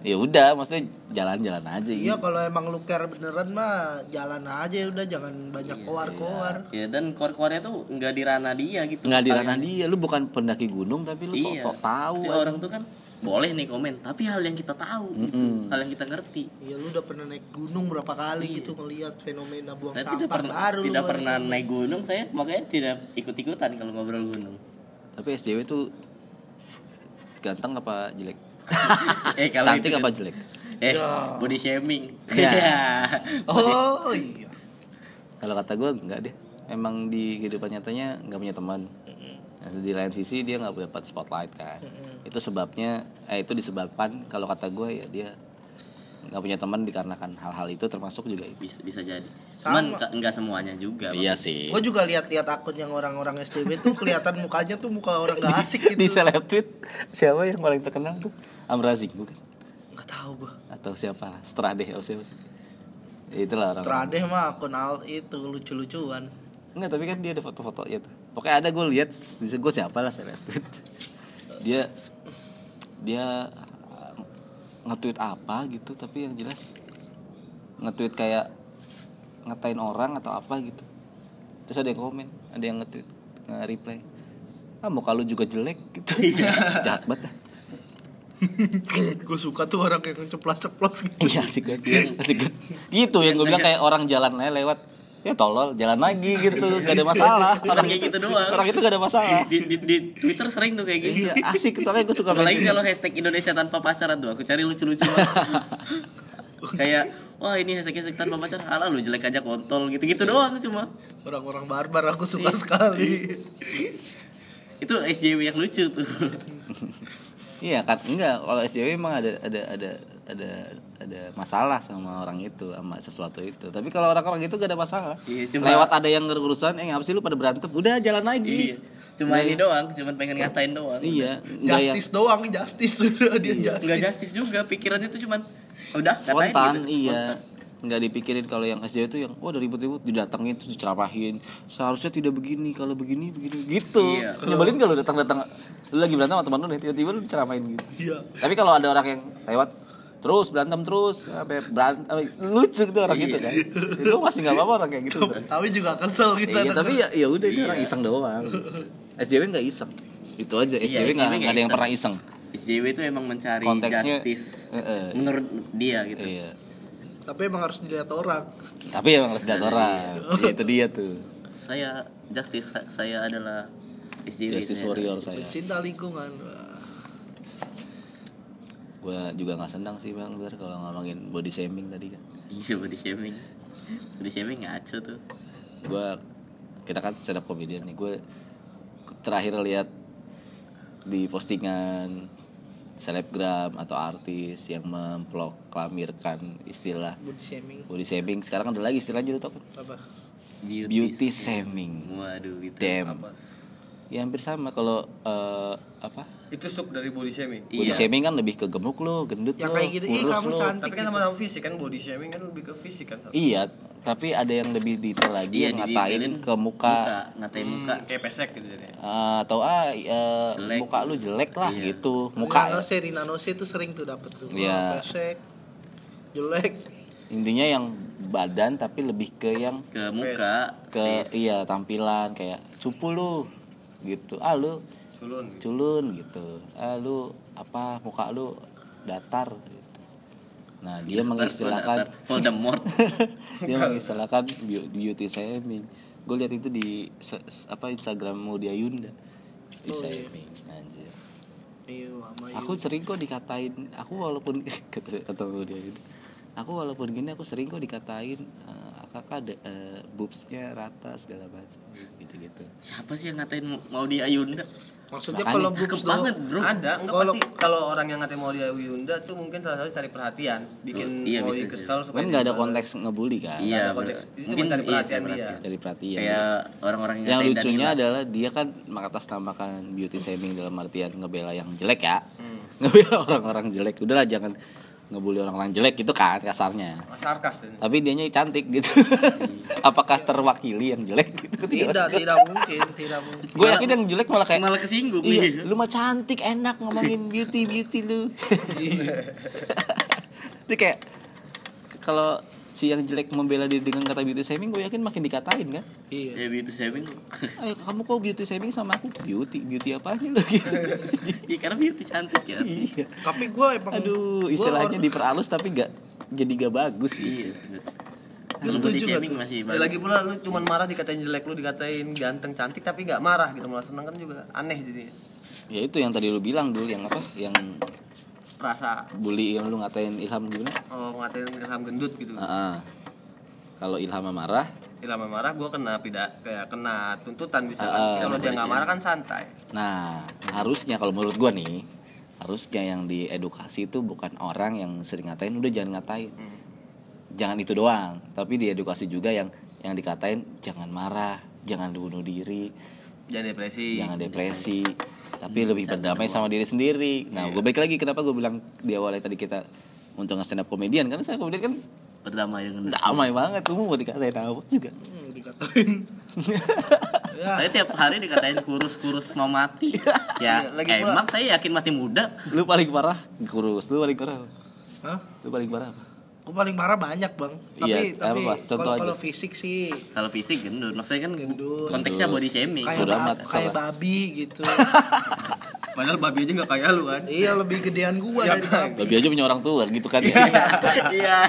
[SPEAKER 1] ya udah maksudnya jalan-jalan aja
[SPEAKER 3] Iya
[SPEAKER 1] gitu.
[SPEAKER 3] kalau emang lu care beneran mah jalan aja ya udah jangan banyak koar-koar.
[SPEAKER 2] ya dan kor-kornya tuh nggak di ranah dia gitu
[SPEAKER 1] nggak di ranah dia lu bukan pendaki gunung tapi lu
[SPEAKER 2] Iya.
[SPEAKER 1] sok-sok tahu
[SPEAKER 2] Si orang tuh kan boleh nih komen, tapi hal yang kita tahu gitu, hal yang kita ngerti.
[SPEAKER 3] Iya lu udah pernah naik gunung berapa kali gitu ngelihat fenomena buang
[SPEAKER 2] Saya
[SPEAKER 3] sampah
[SPEAKER 2] Nah, tidak pernah
[SPEAKER 3] baru.
[SPEAKER 2] tidak
[SPEAKER 3] lu
[SPEAKER 2] pernah naik gunung saya, makanya tidak ikut-ikutan kalau ngobrol gunung.
[SPEAKER 1] Tapi SJW itu ganteng apa jelek?
[SPEAKER 2] eh
[SPEAKER 1] Cantik
[SPEAKER 2] itu-
[SPEAKER 1] apa jelek?
[SPEAKER 2] Eh,
[SPEAKER 3] Ya.
[SPEAKER 2] body shaming.
[SPEAKER 1] Ya.
[SPEAKER 2] Iya.
[SPEAKER 3] Oh iya.
[SPEAKER 1] Kalau kata gue enggak deh. Emang di kehidupan nyatanya nggak punya teman. Nah, Di lain sisi dia nggak dapat spotlight kan. Itu sebabnya eh itu disebabkan kalau kata gue ya dia nggak punya teman dikarenakan hal-hal itu termasuk juga itu
[SPEAKER 2] bisa, bisa jadi
[SPEAKER 3] Sama.
[SPEAKER 2] cuman nggak- nggak semuanya juga Bang.
[SPEAKER 1] iya sih
[SPEAKER 3] Gue juga lihat-lihat akun yang orang-orang STB tuh kelihatan mukanya tuh muka orang gak asik
[SPEAKER 1] di
[SPEAKER 3] gitu.
[SPEAKER 1] seleb tweet siapa yang paling terkenal tuh Amrazing bukan
[SPEAKER 3] Gak tau gue.
[SPEAKER 1] atau siapa lah Strade Ose Ose itulah orang,
[SPEAKER 3] Strade mah akun al itu lucu-lucuan.
[SPEAKER 1] enggak tapi kan dia ada foto-fotonya tuh pokoknya ada gue lihat gue siapa lah seleb tweet dia dia uh, nge-tweet apa gitu tapi yang jelas nge-tweet kayak ngatain orang atau apa gitu terus ada yang komen ada yang nge-tweet nge-reply ah mau kalau juga jelek gitu jahat banget dah.
[SPEAKER 3] gue suka tuh orang yang ceplas-ceplos gitu.
[SPEAKER 1] Iya asik banget dia, asik banget. Gitu yang gue bilang kayak orang jalan aja lewat Ya tolol, jalan lagi gitu, gak ada masalah
[SPEAKER 2] Orang kayak gitu doang.
[SPEAKER 1] Orang itu gak ada masalah
[SPEAKER 2] di, di, di Twitter sering tuh kayak gitu
[SPEAKER 1] Iya asik, makanya gue suka
[SPEAKER 2] Apalagi
[SPEAKER 1] main
[SPEAKER 2] kalau hashtag Indonesia tanpa pacaran tuh aku cari lucu-lucu banget. Kayak wah ini hashtag hashtag tanpa pacaran ala lu jelek aja kontol
[SPEAKER 1] Iya.
[SPEAKER 2] gitu-gitu doang cuma.
[SPEAKER 3] Orang-orang barbar aku suka sekali.
[SPEAKER 2] Itu SJW yang lucu tuh.
[SPEAKER 1] Iya kan, enggak, kalau SJW emang ada, ada, ada, ada, ada masalah sama orang itu, sama sesuatu itu Tapi kalau orang-orang itu gak ada masalah
[SPEAKER 2] Iya, cuma-
[SPEAKER 1] Lewat ada yang ngerusan, eh apa sih lu pada berantem, udah jalan
[SPEAKER 2] Iya.
[SPEAKER 1] lagi
[SPEAKER 2] Cuma ini doang, cuman pengen ngatain doang.
[SPEAKER 1] Iya, enggak yang
[SPEAKER 3] Justice doang, justice sudah dia
[SPEAKER 2] Enggak
[SPEAKER 3] justice.
[SPEAKER 2] justice juga, pikirannya tuh cuman udah ngatain
[SPEAKER 1] spontan
[SPEAKER 2] gitu.
[SPEAKER 1] iya nggak dipikirin kalau yang SJW itu yang oh dari ribut-ribut didatengin terus diceramahin seharusnya tidak begini kalau begini begini gitu
[SPEAKER 2] Iya.
[SPEAKER 1] nyebelin kalau datang-datang lu lagi berantem sama teman lu nih tiba-tiba lu diceramahin gitu
[SPEAKER 3] Iya.
[SPEAKER 1] tapi kalau ada orang yang lewat terus berantem terus sampai berantem lucu tuh orang
[SPEAKER 2] Iya.
[SPEAKER 1] itu kan lu masih nggak apa-apa orang kayak gitu
[SPEAKER 3] Tapi juga kesel gitu. kita.
[SPEAKER 1] iya tapi ya ya udah ini orang
[SPEAKER 2] Iya.
[SPEAKER 1] iseng doang SJW nggak iseng itu aja SJW nggak
[SPEAKER 2] SJW nggak
[SPEAKER 1] nggak ada yang
[SPEAKER 2] iseng.
[SPEAKER 1] pernah iseng
[SPEAKER 2] SJW itu emang mencari
[SPEAKER 1] Konteksnya,
[SPEAKER 2] justice
[SPEAKER 1] eh, eh.
[SPEAKER 2] menurut dia gitu.
[SPEAKER 1] iya
[SPEAKER 3] tapi emang harus dilihat orang.
[SPEAKER 1] tapi emang harus dilihat
[SPEAKER 2] Iya.
[SPEAKER 1] orang Ya, itu dia tuh
[SPEAKER 2] Saya justice sa- saya adalah SJW.
[SPEAKER 1] Justice
[SPEAKER 2] saya.
[SPEAKER 1] Warrior saya.
[SPEAKER 3] Pencinta lingkungan. Wah.
[SPEAKER 1] Gue juga nggak senang sih bang, Ber, kalau ngomongin body shaming tadi kan.
[SPEAKER 2] Iya body shaming. Body shaming ngaco tuh.
[SPEAKER 1] Gue kita kan stand up comedian nih. Gue terakhir lihat di postingan selebgram atau artis yang memproklamirkan istilah
[SPEAKER 3] Body shaming.
[SPEAKER 1] body shaming. Sekarang ada lagi istilahnya tuh
[SPEAKER 3] Apa?
[SPEAKER 1] beauty shaming.
[SPEAKER 2] Waduh gitu.
[SPEAKER 1] Damn. Ya hampir sama kalau eh, apa?
[SPEAKER 4] Itu sub dari body shaming.
[SPEAKER 1] Body
[SPEAKER 2] Iya.
[SPEAKER 1] shaming kan lebih ke gemuk lo, gendut lo,
[SPEAKER 3] Yang kayak gitu, ih
[SPEAKER 1] Oh, kurus
[SPEAKER 3] kamu
[SPEAKER 1] lo.
[SPEAKER 3] cantik.
[SPEAKER 4] Tapi kan sama-sama fisik kan body shaming kan lebih ke fisik kan.
[SPEAKER 1] Iya, tapi ada yang Iya, lebih detail lagi yang ngatain ke muka,
[SPEAKER 2] Iya, ngatain
[SPEAKER 4] Hmm,
[SPEAKER 2] muka.
[SPEAKER 4] kayak pesek gitu jadi.
[SPEAKER 1] Eh, atau ah eh,
[SPEAKER 2] Jelek.
[SPEAKER 1] muka lu jelek lah
[SPEAKER 2] Iya.
[SPEAKER 1] gitu
[SPEAKER 3] Rina
[SPEAKER 1] muka
[SPEAKER 3] Nose, Rina Nose tuh sering tuh dapet tuh.
[SPEAKER 1] Iya.
[SPEAKER 3] Wah, Pesek, jelek.
[SPEAKER 1] intinya yang badan tapi lebih ke yang
[SPEAKER 2] Ke muka.
[SPEAKER 1] ke iya tampilan kayak cupu lu gitu ah lu
[SPEAKER 4] Culun.
[SPEAKER 1] culun gitu ah lu apa muka lu datar gitu. nah dia mengistilahkan
[SPEAKER 2] Voldemort.
[SPEAKER 1] dia mengistilahkan beau- beauty shaming gue lihat itu di se- se- apa Instagram Mudia Yunda beauty
[SPEAKER 3] Oh, iya.
[SPEAKER 1] shaming anjir
[SPEAKER 3] Iya, sama
[SPEAKER 1] aku sering kok dikatain aku walaupun kata kata lu dia gitu. aku walaupun gini aku sering kok dikatain eh, kakak ada eh, boobsnya rata segala macam gitu gitu
[SPEAKER 2] Siapa sih yang ngatain mau di Ayunda?
[SPEAKER 3] Maksudnya
[SPEAKER 1] Makanya
[SPEAKER 3] kalau
[SPEAKER 2] Cakep
[SPEAKER 3] boobs
[SPEAKER 2] banget
[SPEAKER 3] doang.
[SPEAKER 2] bro.
[SPEAKER 4] Ada, enggak
[SPEAKER 3] Kalau-
[SPEAKER 4] pasti kalau orang yang ngatain mau dia Yunda tuh mungkin salah satu cari perhatian, bikin
[SPEAKER 2] Oh, iya,
[SPEAKER 4] mau
[SPEAKER 2] bisa
[SPEAKER 4] dia
[SPEAKER 2] jadi.
[SPEAKER 4] kesel
[SPEAKER 1] kan
[SPEAKER 4] supaya
[SPEAKER 1] nggak ada
[SPEAKER 4] dia-
[SPEAKER 1] konteks ngebully kan
[SPEAKER 4] ada
[SPEAKER 2] Iya.
[SPEAKER 4] konteks.
[SPEAKER 2] bener.
[SPEAKER 4] Itu cuma cari
[SPEAKER 2] iya,
[SPEAKER 4] perhatian
[SPEAKER 2] cari
[SPEAKER 4] dia.
[SPEAKER 1] dari perhatian
[SPEAKER 2] Kayak orang-orang yang
[SPEAKER 1] Iya, yang
[SPEAKER 2] ngatain
[SPEAKER 1] lucunya
[SPEAKER 2] Danila.
[SPEAKER 1] adalah dia kan mengatasnamakan beauty shaming dalam artian ngebela yang jelek ya ngebela orang-orang jelek udahlah jangan ngebully orang-orang jelek gitu kan kasarnya
[SPEAKER 4] Sarkas dan
[SPEAKER 1] tapi dianya cantik gitu apakah terwakili yang jelek gitu
[SPEAKER 3] Tidak, tidak mungkin, tidak mungkin.
[SPEAKER 1] gue yakin yang jelek malah kayak
[SPEAKER 2] malah kesinggung. gitu.
[SPEAKER 1] Iya, lu mah cantik enak ngomongin beauty beauty lu. Itu kayak kalau si yang jelek membela diri dengan kata beauty shaming, gue yakin makin dikatain kan.
[SPEAKER 3] Iya.
[SPEAKER 2] Ya beauty shaming.
[SPEAKER 1] Ayo kamu kok beauty shaming sama aku beauty beauty apa sih lu gitu.
[SPEAKER 2] Iya karena beauty cantik ya.
[SPEAKER 1] Iya.
[SPEAKER 3] Tapi gue emang
[SPEAKER 1] Aduh, istilahnya diperhalus tapi gak jadi gak bagus gitu.
[SPEAKER 2] Iya. bener.
[SPEAKER 3] Lu
[SPEAKER 2] Kalau
[SPEAKER 3] setuju
[SPEAKER 2] body
[SPEAKER 3] nggak
[SPEAKER 2] shaming
[SPEAKER 3] tuh?
[SPEAKER 2] masih
[SPEAKER 4] Ya,
[SPEAKER 2] Iya, bagus.
[SPEAKER 4] lagi pula lu cuman marah dikatain jelek, lu dikatain ganteng cantik tapi nggak marah gitu malah seneng kan juga aneh jadi
[SPEAKER 1] Ya itu yang tadi lu bilang dulu yang apa? Yang
[SPEAKER 4] rasa
[SPEAKER 1] bully yang lu ngatain Ilham gimana?
[SPEAKER 4] oh, ngatain ilham gendut gitu.
[SPEAKER 2] Ah.
[SPEAKER 1] Heeh. Kalau Ilham marah,
[SPEAKER 4] Ilham marah gua kena pidak kayak kena tuntutan bisa.
[SPEAKER 1] Ah,
[SPEAKER 2] iya,
[SPEAKER 4] kan. Kalau dia nggak marah kan santai.
[SPEAKER 1] Nah, harusnya kalau menurut gua nih, harusnya yang diedukasi itu bukan orang yang sering ngatain udah jangan ngatain jangan itu doang tapi diedukasi juga yang yang dikatain jangan marah jangan bunuh diri
[SPEAKER 4] jangan depresi
[SPEAKER 1] jangan depresi Hmm, tapi lebih berdamai sama diri sendiri nah gue balik lagi kenapa gue bilang di awalnya tadi kita untuk nge-stand up komedian karena saya komedian kan
[SPEAKER 2] berdamai dengan
[SPEAKER 1] damai banget lu mau dikatain apa juga
[SPEAKER 3] Hmm, dikatain. ya,
[SPEAKER 2] saya tiap hari dikatain kurus-kurus mau mati ya
[SPEAKER 4] Iya, lagi pula-
[SPEAKER 2] emang saya yakin mati muda
[SPEAKER 1] lu paling parah kurus lu paling parah apa?
[SPEAKER 3] Hah?
[SPEAKER 1] lu paling parah apa
[SPEAKER 3] Gue paling parah banyak bang. Tapi
[SPEAKER 1] Iya,
[SPEAKER 3] tapi
[SPEAKER 1] apa, Mas? Contoh
[SPEAKER 3] kalau
[SPEAKER 1] aja.
[SPEAKER 3] kalau fisik sih
[SPEAKER 2] kalau fisik gendut maksudnya kan
[SPEAKER 3] Gendut.
[SPEAKER 2] konteksnya body shaming
[SPEAKER 3] kayak
[SPEAKER 1] Bodo
[SPEAKER 3] ba-
[SPEAKER 1] amat,
[SPEAKER 3] kayak
[SPEAKER 1] salah.
[SPEAKER 3] babi gitu.
[SPEAKER 4] padahal babi aja nggak kayak lu kan
[SPEAKER 3] iya lebih gedean gua dari babi.
[SPEAKER 1] lebih aja punya orang tua gitu kan ya
[SPEAKER 2] iya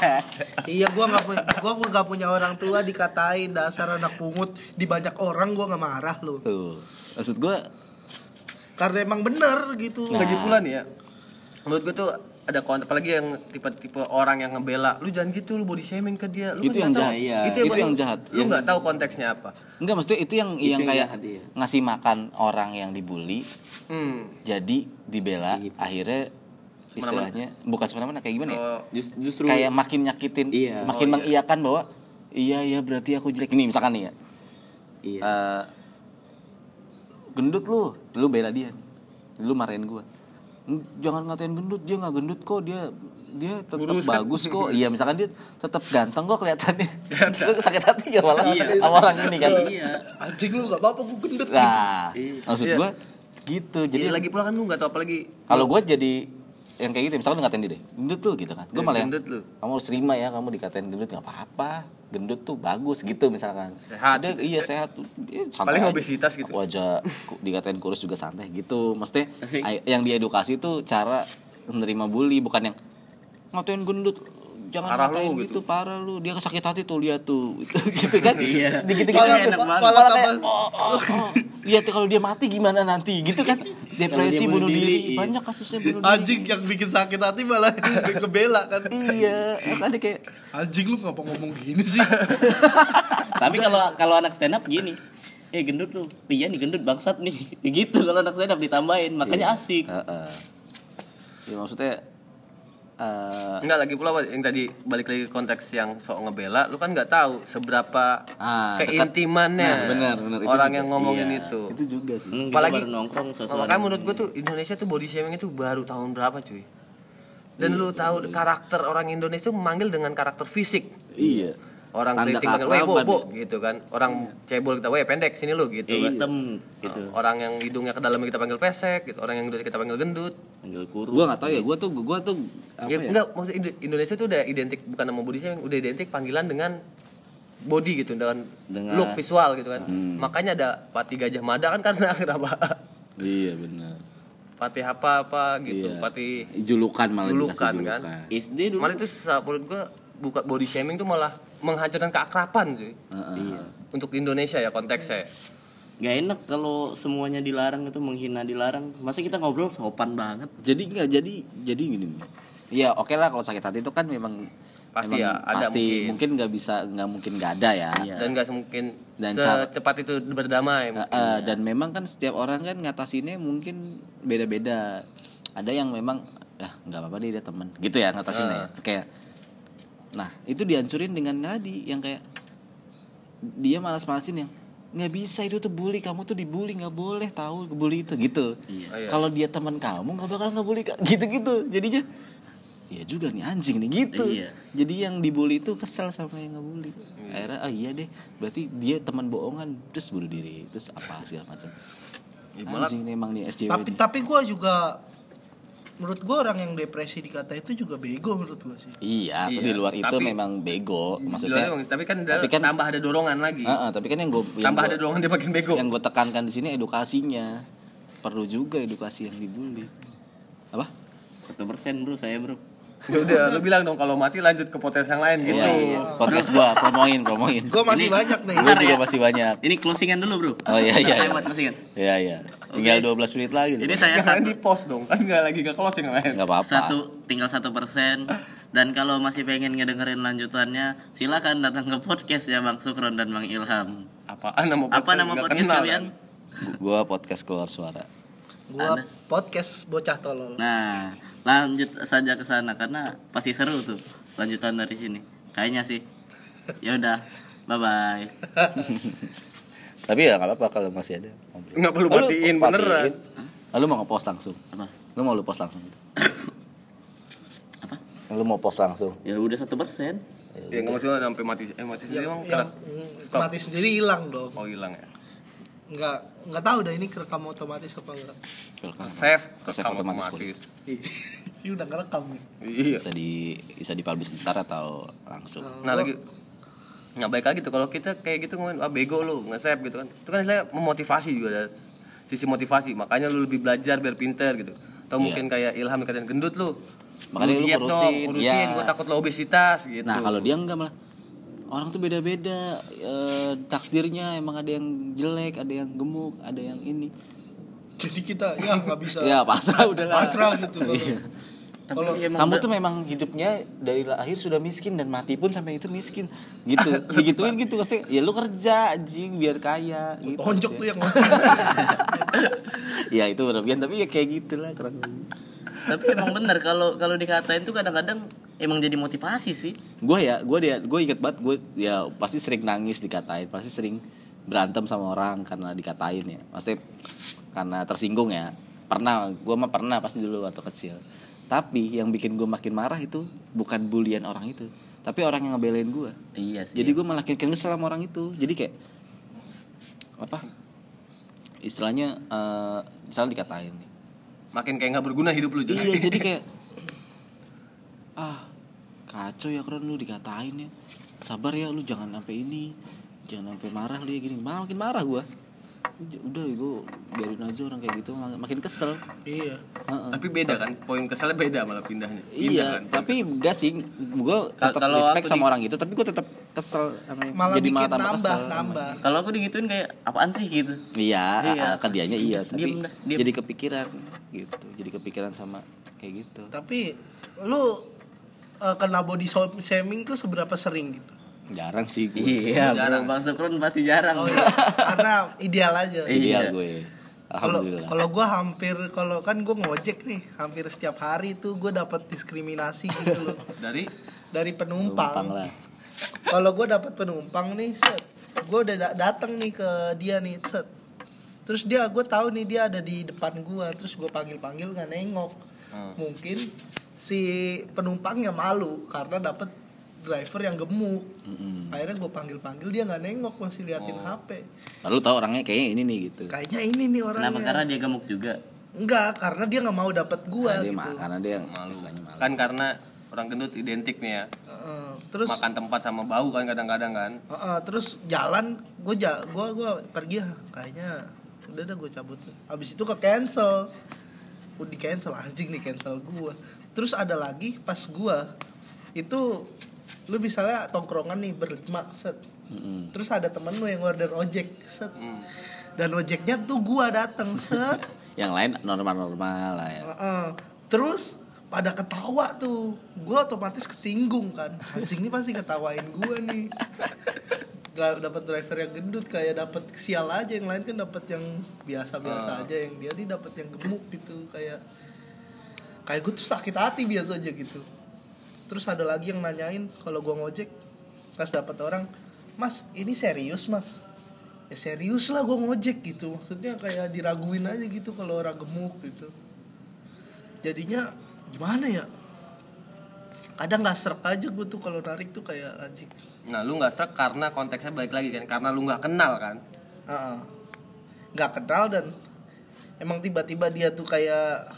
[SPEAKER 3] Iya gua nggak punya gua nggak punya orang tua dikatain dasar anak pungut di banyak orang gua nggak marah lu.
[SPEAKER 1] tuh maksud gue
[SPEAKER 3] Karena emang bener gitu.
[SPEAKER 1] Nah.
[SPEAKER 4] lagi pula nih ya menurut gue tuh ada konten apalagi yang tipe-tipe orang yang ngebela lu jangan gitu lu body shaming ke dia lu kan
[SPEAKER 1] Itu yang
[SPEAKER 4] nggak tahu-
[SPEAKER 1] jahat, iya.
[SPEAKER 4] itu,
[SPEAKER 1] Itu
[SPEAKER 4] yang,
[SPEAKER 1] yang jahat. iya.
[SPEAKER 4] lu
[SPEAKER 1] Yang-
[SPEAKER 4] nggak tahu konteksnya apa
[SPEAKER 1] enggak maksudnya itu yang yang ya.
[SPEAKER 2] yang
[SPEAKER 1] kayak
[SPEAKER 2] jahat, iya.
[SPEAKER 1] ngasih makan orang yang dibully
[SPEAKER 4] hmm
[SPEAKER 1] jadi dibela
[SPEAKER 2] Iya.
[SPEAKER 1] akhirnya istilahnya bukan semena-mena kayak gimana ya
[SPEAKER 4] so,
[SPEAKER 2] Just- justru
[SPEAKER 1] kayak makin nyakitin
[SPEAKER 2] Oh. Iya.
[SPEAKER 1] makin mengiyakan bahwa iya ya berarti aku jelek ini misalkan nih ya
[SPEAKER 2] iya.
[SPEAKER 1] Eh, gendut lu lu bela dia lu marahin gua "N- jangan ngatain gendut dia nggak gendut kok dia dia tetap
[SPEAKER 4] Kurus kan?
[SPEAKER 1] bagus kok iya misalkan dia tetap ganteng kok kelihatannya lu sakit hati gak malah
[SPEAKER 2] Iya.
[SPEAKER 1] sama orang ini kan
[SPEAKER 2] iya
[SPEAKER 3] Anjing lu nggak apa-apa gua gendut.
[SPEAKER 1] nah
[SPEAKER 2] Iya.
[SPEAKER 1] maksud
[SPEAKER 4] Iya.
[SPEAKER 1] gua gitu
[SPEAKER 4] jadi
[SPEAKER 1] jadi
[SPEAKER 4] lagi pula kan lu nggak tahu apalagi
[SPEAKER 1] kalau gua jadi yang kayak gitu misalkan lu ngatain dia deh gendut tuh gitu kan gua
[SPEAKER 4] Ya,
[SPEAKER 1] malah yang,
[SPEAKER 4] gendut lu.
[SPEAKER 1] kamu harus terima ya kamu dikatain gendut nggak apa-apa gendut tuh bagus gitu misalkan
[SPEAKER 4] Sehat.
[SPEAKER 1] Udah, iya sehat Iya, santai
[SPEAKER 4] Paling
[SPEAKER 1] aja.
[SPEAKER 4] obesitas gitu.
[SPEAKER 1] aku aja ku- dikatain kurus juga santai gitu maksudnya
[SPEAKER 2] Tapi-
[SPEAKER 1] ay- yang diedukasi tuh cara menerima bully bukan yang ngatain gendut jangan
[SPEAKER 4] Parah lu,
[SPEAKER 1] ngatain
[SPEAKER 4] gitu.
[SPEAKER 1] gitu. parah lu dia sakit hati tuh lihat tuh gitu, gitu kan
[SPEAKER 2] Iya.
[SPEAKER 1] gitu gitu
[SPEAKER 2] Malah-
[SPEAKER 1] gitu
[SPEAKER 2] malah
[SPEAKER 1] Malah kayak,
[SPEAKER 3] tambah-
[SPEAKER 1] oh, oh, oh. lihat kalau dia mati gimana nanti gitu kan depresi
[SPEAKER 2] Kalau
[SPEAKER 1] bunuh
[SPEAKER 2] dia bunuh
[SPEAKER 1] diri,
[SPEAKER 2] diri, iya.
[SPEAKER 1] banyak kasusnya bunuh diri
[SPEAKER 3] Anjing yang bikin sakit hati malah yang ngebela kan.
[SPEAKER 1] iya makanya kayak
[SPEAKER 3] Anjing lu ngapa ngomong gini sih?
[SPEAKER 2] tapi kalau kalau anak stand up gini eh gendut lu iya nih gendut bangsat nih gitu kalau anak stand up ditambahin
[SPEAKER 1] Iya.
[SPEAKER 2] makanya asik
[SPEAKER 1] Heeh. ya maksudnya eh,
[SPEAKER 4] Enggak lagi pula yang tadi balik lagi ke konteks yang sok ngebela, lu kan nggak tahu seberapa
[SPEAKER 1] Ah,
[SPEAKER 4] keintimannya
[SPEAKER 1] Nah, benar, benar, itu
[SPEAKER 4] orang
[SPEAKER 1] juga.
[SPEAKER 4] yang ngomongin
[SPEAKER 2] Iya.
[SPEAKER 4] itu.
[SPEAKER 1] itu juga sih
[SPEAKER 2] Hmm, kita
[SPEAKER 4] Apalagi-
[SPEAKER 2] baru nongkrong sosial
[SPEAKER 4] Makanya menurut gue tuh Indonesia tuh body shaming itu baru tahun berapa cuy?
[SPEAKER 1] Iya,
[SPEAKER 4] Dan lu tahu karakter orang Indonesia tuh memanggil dengan karakter fisik.
[SPEAKER 1] iya
[SPEAKER 4] Orang
[SPEAKER 1] Tanda
[SPEAKER 4] keriting panggil, "Weh, bo,
[SPEAKER 1] keakraban ya. Iya.
[SPEAKER 4] bo," gitu kan. Orang cebol kita, "Weh, pendek sini lu," gitu kan.
[SPEAKER 2] hitam gitu
[SPEAKER 4] Orang yang hidungnya ke dalam kita panggil pesek, gitu. Orang yang dari kita panggil gendut.
[SPEAKER 2] panggil kurus
[SPEAKER 1] gue nggak tahu ya gue tuh gue tuh apa
[SPEAKER 4] Ya,
[SPEAKER 1] ya,
[SPEAKER 4] enggak, maksud Indo- Indonesia tuh udah identik bukan nama body shaming, udah identik panggilan dengan body gitu dengan,
[SPEAKER 2] Dengan-
[SPEAKER 4] look visual gitu kan.
[SPEAKER 1] Hmm.
[SPEAKER 4] Makanya ada Patih Gajah Mada kan karena kenapa?
[SPEAKER 1] iya benar
[SPEAKER 4] Patih apa apa gitu,
[SPEAKER 1] Iya.
[SPEAKER 4] Patih
[SPEAKER 1] julukan malah dikasih
[SPEAKER 4] Julukan, kan?
[SPEAKER 2] SD dulu
[SPEAKER 4] Malah itu sa- menurut gua buka body shaming tuh malah menghancurkan keakraban cuy.
[SPEAKER 1] Heeh.
[SPEAKER 4] Iya. Untuk di Indonesia ya konteksnya.
[SPEAKER 2] Gak enak kalau semuanya dilarang itu menghina dilarang. Masa kita ngobrol sopan banget.
[SPEAKER 1] jadi nggak jadi jadi gini Mi. ya oke lah kalau sakit hati itu kan memang
[SPEAKER 4] Pasti ya, ada
[SPEAKER 1] pasti
[SPEAKER 4] mungkin.
[SPEAKER 1] mungkin nggak bisa nggak mungkin nggak ada ya
[SPEAKER 2] Iya.
[SPEAKER 4] Dan gak mungkin
[SPEAKER 1] Dan cara-
[SPEAKER 4] secepat itu berdamai.
[SPEAKER 1] Eh, eh, dan memang kan setiap orang kan ngatasinnya mungkin beda-beda ada yang memang ah nggak apa-apa deh dia temen gitu ya ngatasinnya ya. kayak nah itu dihancurin dengan tadi yang kayak dia malas-malasin yang nggak bisa itu tuh bully kamu tuh dibully nggak boleh tahu bully itu gitu
[SPEAKER 4] Oh, iya.
[SPEAKER 1] kalau dia teman kamu nggak bakal ngebully ka- gitu-gitu jadinya Iya juga nih anjing nih gitu
[SPEAKER 2] Iya.
[SPEAKER 1] jadi yang dibully itu kesel sama yang ngebully akhirnya ah iya deh berarti dia teman bohongan terus bunuh diri terus apa segala macam
[SPEAKER 4] Ya, malah-
[SPEAKER 1] anjing nih emang nih SJW
[SPEAKER 3] tapi
[SPEAKER 1] nih.
[SPEAKER 3] tapi gua juga menurut gua orang yang depresi dikata itu juga bego menurut gua sih.
[SPEAKER 1] iya,
[SPEAKER 4] Iya,
[SPEAKER 1] di luar itu
[SPEAKER 4] tapi-
[SPEAKER 1] memang bego maksudnya
[SPEAKER 4] Maksudnya, tapi kan, ada-
[SPEAKER 1] tapi kan-
[SPEAKER 4] tambah ada dorongan lagi.
[SPEAKER 1] Heeh, tapi kan yang gue
[SPEAKER 4] tambah ada dorongan dia makin bego.
[SPEAKER 1] yang gue tekankan di sini edukasinya perlu juga edukasi yang dibully apa
[SPEAKER 2] Satu persen bro saya bro.
[SPEAKER 4] Ya udah, lu bilang dong kalau mati lanjut ke potensi yang lain gitu.
[SPEAKER 1] Iya, iya. podcast gue promoin promoin
[SPEAKER 3] Gua masih
[SPEAKER 2] Ini-
[SPEAKER 3] banyak nih.
[SPEAKER 1] gue
[SPEAKER 2] Bentar
[SPEAKER 1] juga
[SPEAKER 2] ya.
[SPEAKER 1] masih banyak
[SPEAKER 2] Ini closingan dulu bro.
[SPEAKER 1] Oh, iya, iya,
[SPEAKER 2] Saya
[SPEAKER 1] iya.
[SPEAKER 2] buat closingan.
[SPEAKER 1] Iya iya. Tinggal 12 menit lagi.
[SPEAKER 2] Ini
[SPEAKER 1] Bos.
[SPEAKER 2] saya
[SPEAKER 4] Yang lain
[SPEAKER 2] satu,
[SPEAKER 4] di post dong, kan nggak lagi nggak closing yang lain.
[SPEAKER 1] nggak apa-apa.
[SPEAKER 2] satu tinggal satu persen. Dan kalau masih pengen ngedengerin lanjutannya, silakan datang ke podcast ya Bang Sukron dan Bang Ilham.
[SPEAKER 4] Apaan nama podcast?
[SPEAKER 2] Apa nama podcast kalian?
[SPEAKER 1] Gua podcast keluar suara.
[SPEAKER 3] Gua
[SPEAKER 2] Ada.
[SPEAKER 3] podcast bocah tolol.
[SPEAKER 2] Nah, lanjut saja ke sana karena pasti seru tuh lanjutan dari sini. Kayaknya sih. Ya udah. Bye bye.
[SPEAKER 1] Tapi ya nggak apa-apa kalau masih ada.
[SPEAKER 4] Nggak perlu
[SPEAKER 1] Lalu,
[SPEAKER 4] matiin, beneran.
[SPEAKER 1] Lalu ah, mau ngepost langsung.
[SPEAKER 2] Apa?
[SPEAKER 1] Lu mau lu post langsung.
[SPEAKER 2] Apa?
[SPEAKER 1] Lu mau post langsung.
[SPEAKER 2] Ya udah satu persen.
[SPEAKER 4] Ya nggak maksudnya sampai mati eh mati sendiri emang
[SPEAKER 3] Yang
[SPEAKER 4] kerak.
[SPEAKER 3] mm, mati sendiri hilang dong.
[SPEAKER 4] Oh hilang ya.
[SPEAKER 3] Nggak nggak tahu dah ini kerekam otomatis apa enggak.
[SPEAKER 4] Save,
[SPEAKER 1] Save
[SPEAKER 4] rekam
[SPEAKER 1] otomatis,
[SPEAKER 4] otomatis.
[SPEAKER 3] Ini udah ngerekam nih.
[SPEAKER 4] Iya.
[SPEAKER 1] Bisa di bisa dipublish ntar atau langsung.
[SPEAKER 4] Nah lagi nggak baik lagi tuh kalau kita kayak gitu ngomongin ah bego lu nggak save gitu kan itu kan istilahnya memotivasi juga ada s- sisi motivasi makanya lu lebih belajar biar pinter gitu atau mungkin kayak Ilham yang katain gendut lu
[SPEAKER 1] Iya. Makanya lu
[SPEAKER 4] diet dong,
[SPEAKER 1] kurusin,
[SPEAKER 4] kurusin
[SPEAKER 1] iya.
[SPEAKER 4] gua takut lo obesitas gitu
[SPEAKER 1] Nah kalau dia enggak malah orang tuh beda-beda eh, takdirnya emang ada yang jelek, ada yang gemuk, ada yang ini.
[SPEAKER 3] Jadi kita ya nggak bisa.
[SPEAKER 1] Ya pasrah Iya. udahlah.
[SPEAKER 3] Pasrah gitu. kalau-
[SPEAKER 2] Kalau
[SPEAKER 1] Kamu tuh memang hidupnya dari lahir sudah miskin dan mati pun sampai itu miskin gitu. Digituin gitu pasti ya lu kerja anjing biar kaya gitu.
[SPEAKER 3] Tonjok tuh
[SPEAKER 1] ya.
[SPEAKER 3] yang
[SPEAKER 1] ya itu berlebihan tapi ya kayak gitulah kurang lebih.
[SPEAKER 2] tapi emang bener kalau kalau dikatain tuh kadang-kadang emang jadi motivasi sih.
[SPEAKER 1] gue ya gue dia gue inget banget gue ya pasti sering nangis dikatain pasti sering berantem sama orang karena dikatain ya pasti karena tersinggung ya pernah gue mah pernah pasti dulu waktu kecil tapi yang bikin gue makin marah itu bukan bulian orang itu tapi orang yang ngebelain gue
[SPEAKER 2] Iya
[SPEAKER 1] jadi gue malah makin kesel sama orang itu jadi kayak apa istilahnya eh misalnya dikatain nih
[SPEAKER 4] makin kayak nggak berguna hidup lu jadi
[SPEAKER 1] iya jadi kayak ah kacau ya keren lu dikatain ya sabar ya lu jangan sampai ini jangan sampai marah lu ya gini malah makin marah gua Uj- udah gue biarin aja orang kayak gitu mak- makin kesel
[SPEAKER 3] Iya.
[SPEAKER 1] Heeh.
[SPEAKER 4] tapi beda kan poin keselnya beda malah pindahnya Pindah
[SPEAKER 1] iya
[SPEAKER 4] kan?
[SPEAKER 1] tapi enggak sih gua
[SPEAKER 4] Ka-
[SPEAKER 1] tetap
[SPEAKER 4] kalau
[SPEAKER 1] respect
[SPEAKER 4] aku
[SPEAKER 1] sama
[SPEAKER 4] di-
[SPEAKER 1] orang itu tapi gua tetap kesel sama yang-
[SPEAKER 3] Malah bikin
[SPEAKER 1] malah tambah
[SPEAKER 3] nambah,
[SPEAKER 1] kesel sama-
[SPEAKER 3] nambah.
[SPEAKER 2] Kalau aku digituin kayak apaan sih gitu.
[SPEAKER 1] iya
[SPEAKER 2] Iya.
[SPEAKER 1] ah, ke dianya iya tapi
[SPEAKER 2] Diem dah, diem.
[SPEAKER 1] jadi kepikiran gitu jadi kepikiran sama kayak gitu
[SPEAKER 3] Tapi lu eh, kena body shaming tuh seberapa sering gitu?
[SPEAKER 1] jarang sih gua.
[SPEAKER 2] Iya,
[SPEAKER 4] Jarang.
[SPEAKER 2] Bang Sukron pasti jarang.
[SPEAKER 3] Oh, iya. Karena ideal aja.
[SPEAKER 2] Iya.
[SPEAKER 1] ideal gue
[SPEAKER 3] Kalau
[SPEAKER 1] alhamdulillah
[SPEAKER 3] kalau gue hampir kalau kan gue ngojek nih hampir setiap hari tuh gue dapat diskriminasi gitu loh
[SPEAKER 4] dari
[SPEAKER 3] dari
[SPEAKER 1] Numpang
[SPEAKER 3] penumpang.
[SPEAKER 1] lah
[SPEAKER 3] Kalau gue dapat penumpang nih, set, gue udah da- datang nih ke dia nih, set. Terus dia gue tahu nih dia ada di depan gue, terus gue panggil panggil nggak nengok. Mungkin si penumpangnya malu karena dapat driver yang gemuk. Akhirnya gue panggil panggil dia nggak nengok masih liatin HP.
[SPEAKER 1] Lalu tahu orangnya kayaknya ini nih gitu.
[SPEAKER 3] Kayaknya ini nih orangnya.
[SPEAKER 1] Iya.
[SPEAKER 2] Kenapa karena dia gemuk juga?
[SPEAKER 3] Enggak, karena dia nggak mau dapat gua
[SPEAKER 1] Karena dia
[SPEAKER 3] gitu.
[SPEAKER 1] mah, karena dia
[SPEAKER 4] malu
[SPEAKER 1] istilahnya malu.
[SPEAKER 4] kan karena orang gendut identik nih ya
[SPEAKER 3] Heeh, terus
[SPEAKER 4] makan tempat sama bau kan kadang-kadang kan
[SPEAKER 3] heeh, terus jalan gue ja, gua gua pergi ah, kayaknya udah dah gue cabut. Abis itu ke cancel. Udah di cancel anjing nih cancel gua. Terus ada lagi pas gua itu lu misalnya tongkrongan nih berlima set.
[SPEAKER 1] Mm-mm.
[SPEAKER 3] Terus ada temen lu yang order ojek set.
[SPEAKER 4] Hmm.
[SPEAKER 3] Dan ojeknya tuh gua dateng set.
[SPEAKER 1] Yang lain normal-normal lah ya.
[SPEAKER 3] Heeh. Terus pada ketawa tuh, gue otomatis kesinggung kan. Anjing ini pasti ketawain gue nih. Dra- dapat driver yang gendut kayak dapat sial aja yang lain kan dapat yang biasa-biasa aja yang dia nih dapat yang gemuk gitu kayak kayak gue tuh sakit hati biasa aja gitu terus ada lagi yang nanyain kalau gua ngojek pas dapat orang mas ini serius mas ya serius lah gua ngojek gitu maksudnya kayak diraguin aja gitu kalau orang gemuk gitu jadinya gimana ya kadang nggak serp aja gue tuh kalau narik tuh kayak anjing
[SPEAKER 4] nah lu nggak stuck karena konteksnya balik lagi kan karena lu nggak kenal kan
[SPEAKER 3] Ah, ah. nggak kenal dan emang tiba-tiba dia tuh kayak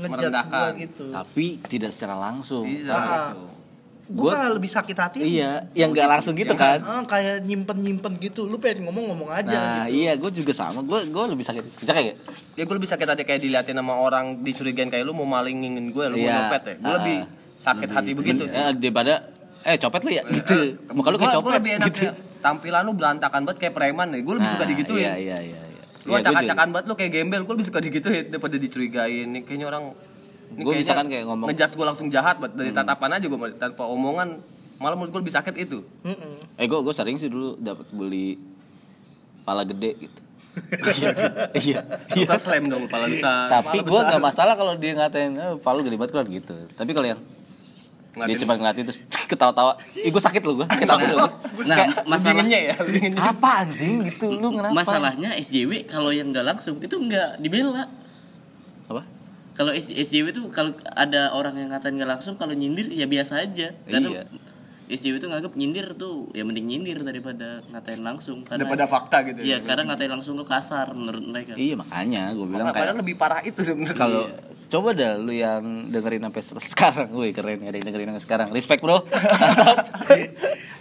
[SPEAKER 3] ngejat gua
[SPEAKER 4] Merendahkan.
[SPEAKER 3] gitu
[SPEAKER 1] Tapi tidak secara langsung.
[SPEAKER 4] bisa
[SPEAKER 3] Ah.
[SPEAKER 4] langsung.
[SPEAKER 3] gue
[SPEAKER 1] Gua-
[SPEAKER 3] malah lebih sakit hati
[SPEAKER 1] Iya, yang nggak langsung gitu kan.
[SPEAKER 3] Ah, kayak nyimpen nyimpen gitu lu pengen ngomong ngomong aja
[SPEAKER 1] Nah,
[SPEAKER 3] gitu
[SPEAKER 1] iya, gue juga sama. Gue gue lebih sakit. Bisa kayak gak?
[SPEAKER 4] ya gue lebih sakit hati kayak diliatin sama orang dicurigain kayak lu mau malingin gue lu
[SPEAKER 1] Iya.
[SPEAKER 4] mau nyopet ya gue
[SPEAKER 1] Ah.
[SPEAKER 4] lebih sakit hati begitu sih
[SPEAKER 1] Eh, daripada eh copet lu ya gitu. Muka lu kayak
[SPEAKER 4] Gua- gua
[SPEAKER 1] copet
[SPEAKER 4] lebih enak
[SPEAKER 1] gitu.
[SPEAKER 4] ya. tampilan lu berantakan banget kayak preman ya gue lebih suka
[SPEAKER 1] Nah,
[SPEAKER 4] digituin
[SPEAKER 1] Iya, iya, iya. iya.
[SPEAKER 4] lu acak-acakan banget lu kayak gembel gue lebih suka digituin daripada dicurigain nih kayaknya orang ini
[SPEAKER 1] Gua
[SPEAKER 4] kayaknya
[SPEAKER 1] misalkan kayak ngomong- Hmm.
[SPEAKER 4] ngejudge gue langsung jahat banget dari tatapan aja gue tanpa omongan malah menurut gue lebih sakit itu
[SPEAKER 3] Mm-mm.
[SPEAKER 1] Eh, gue gue sering sih dulu dapat beli pala gede gitu. Ah, Iya.
[SPEAKER 4] Lu kan slam dong kepala besar.
[SPEAKER 1] Tapi
[SPEAKER 4] Kepala
[SPEAKER 1] gue
[SPEAKER 4] besar.
[SPEAKER 1] gak masalah kalau dia ngatain "Eh, palu gede banget keluar gitu. Tapi kalau yang dia
[SPEAKER 4] Ngatain-
[SPEAKER 1] cuma ngeliatin terus ketawa-tawa, ih gue sakit lo gue, sakit lo.
[SPEAKER 2] Nah,
[SPEAKER 1] Iya.
[SPEAKER 2] masalah
[SPEAKER 4] Lebih ngenyek ya, lebih ngenyek.
[SPEAKER 1] Apa anjing gitu lu kenapa?
[SPEAKER 2] masalahnya SJW kalau yang nggak langsung itu nggak dibela.
[SPEAKER 1] apa?
[SPEAKER 2] Kalau S- SJW itu kalau ada orang yang ngatain nggak langsung kalau nyindir ya biasa
[SPEAKER 1] Iya.
[SPEAKER 2] aja. Karena SJW itu nganggap nyindir tuh ya mending nyindir daripada ngatain langsung karena
[SPEAKER 4] daripada fakta gitu.
[SPEAKER 2] Iya, karena ngatain langsung tuh kasar menurut mereka.
[SPEAKER 1] Iya makanya gue bilang
[SPEAKER 4] Padahal
[SPEAKER 1] kayak
[SPEAKER 4] lebih parah itu sebenarnya.
[SPEAKER 1] kalau coba dah lu yang dengerin sampai se- sekarang, wih keren ada yang dengerin sampai sekarang, respect bro, mantap.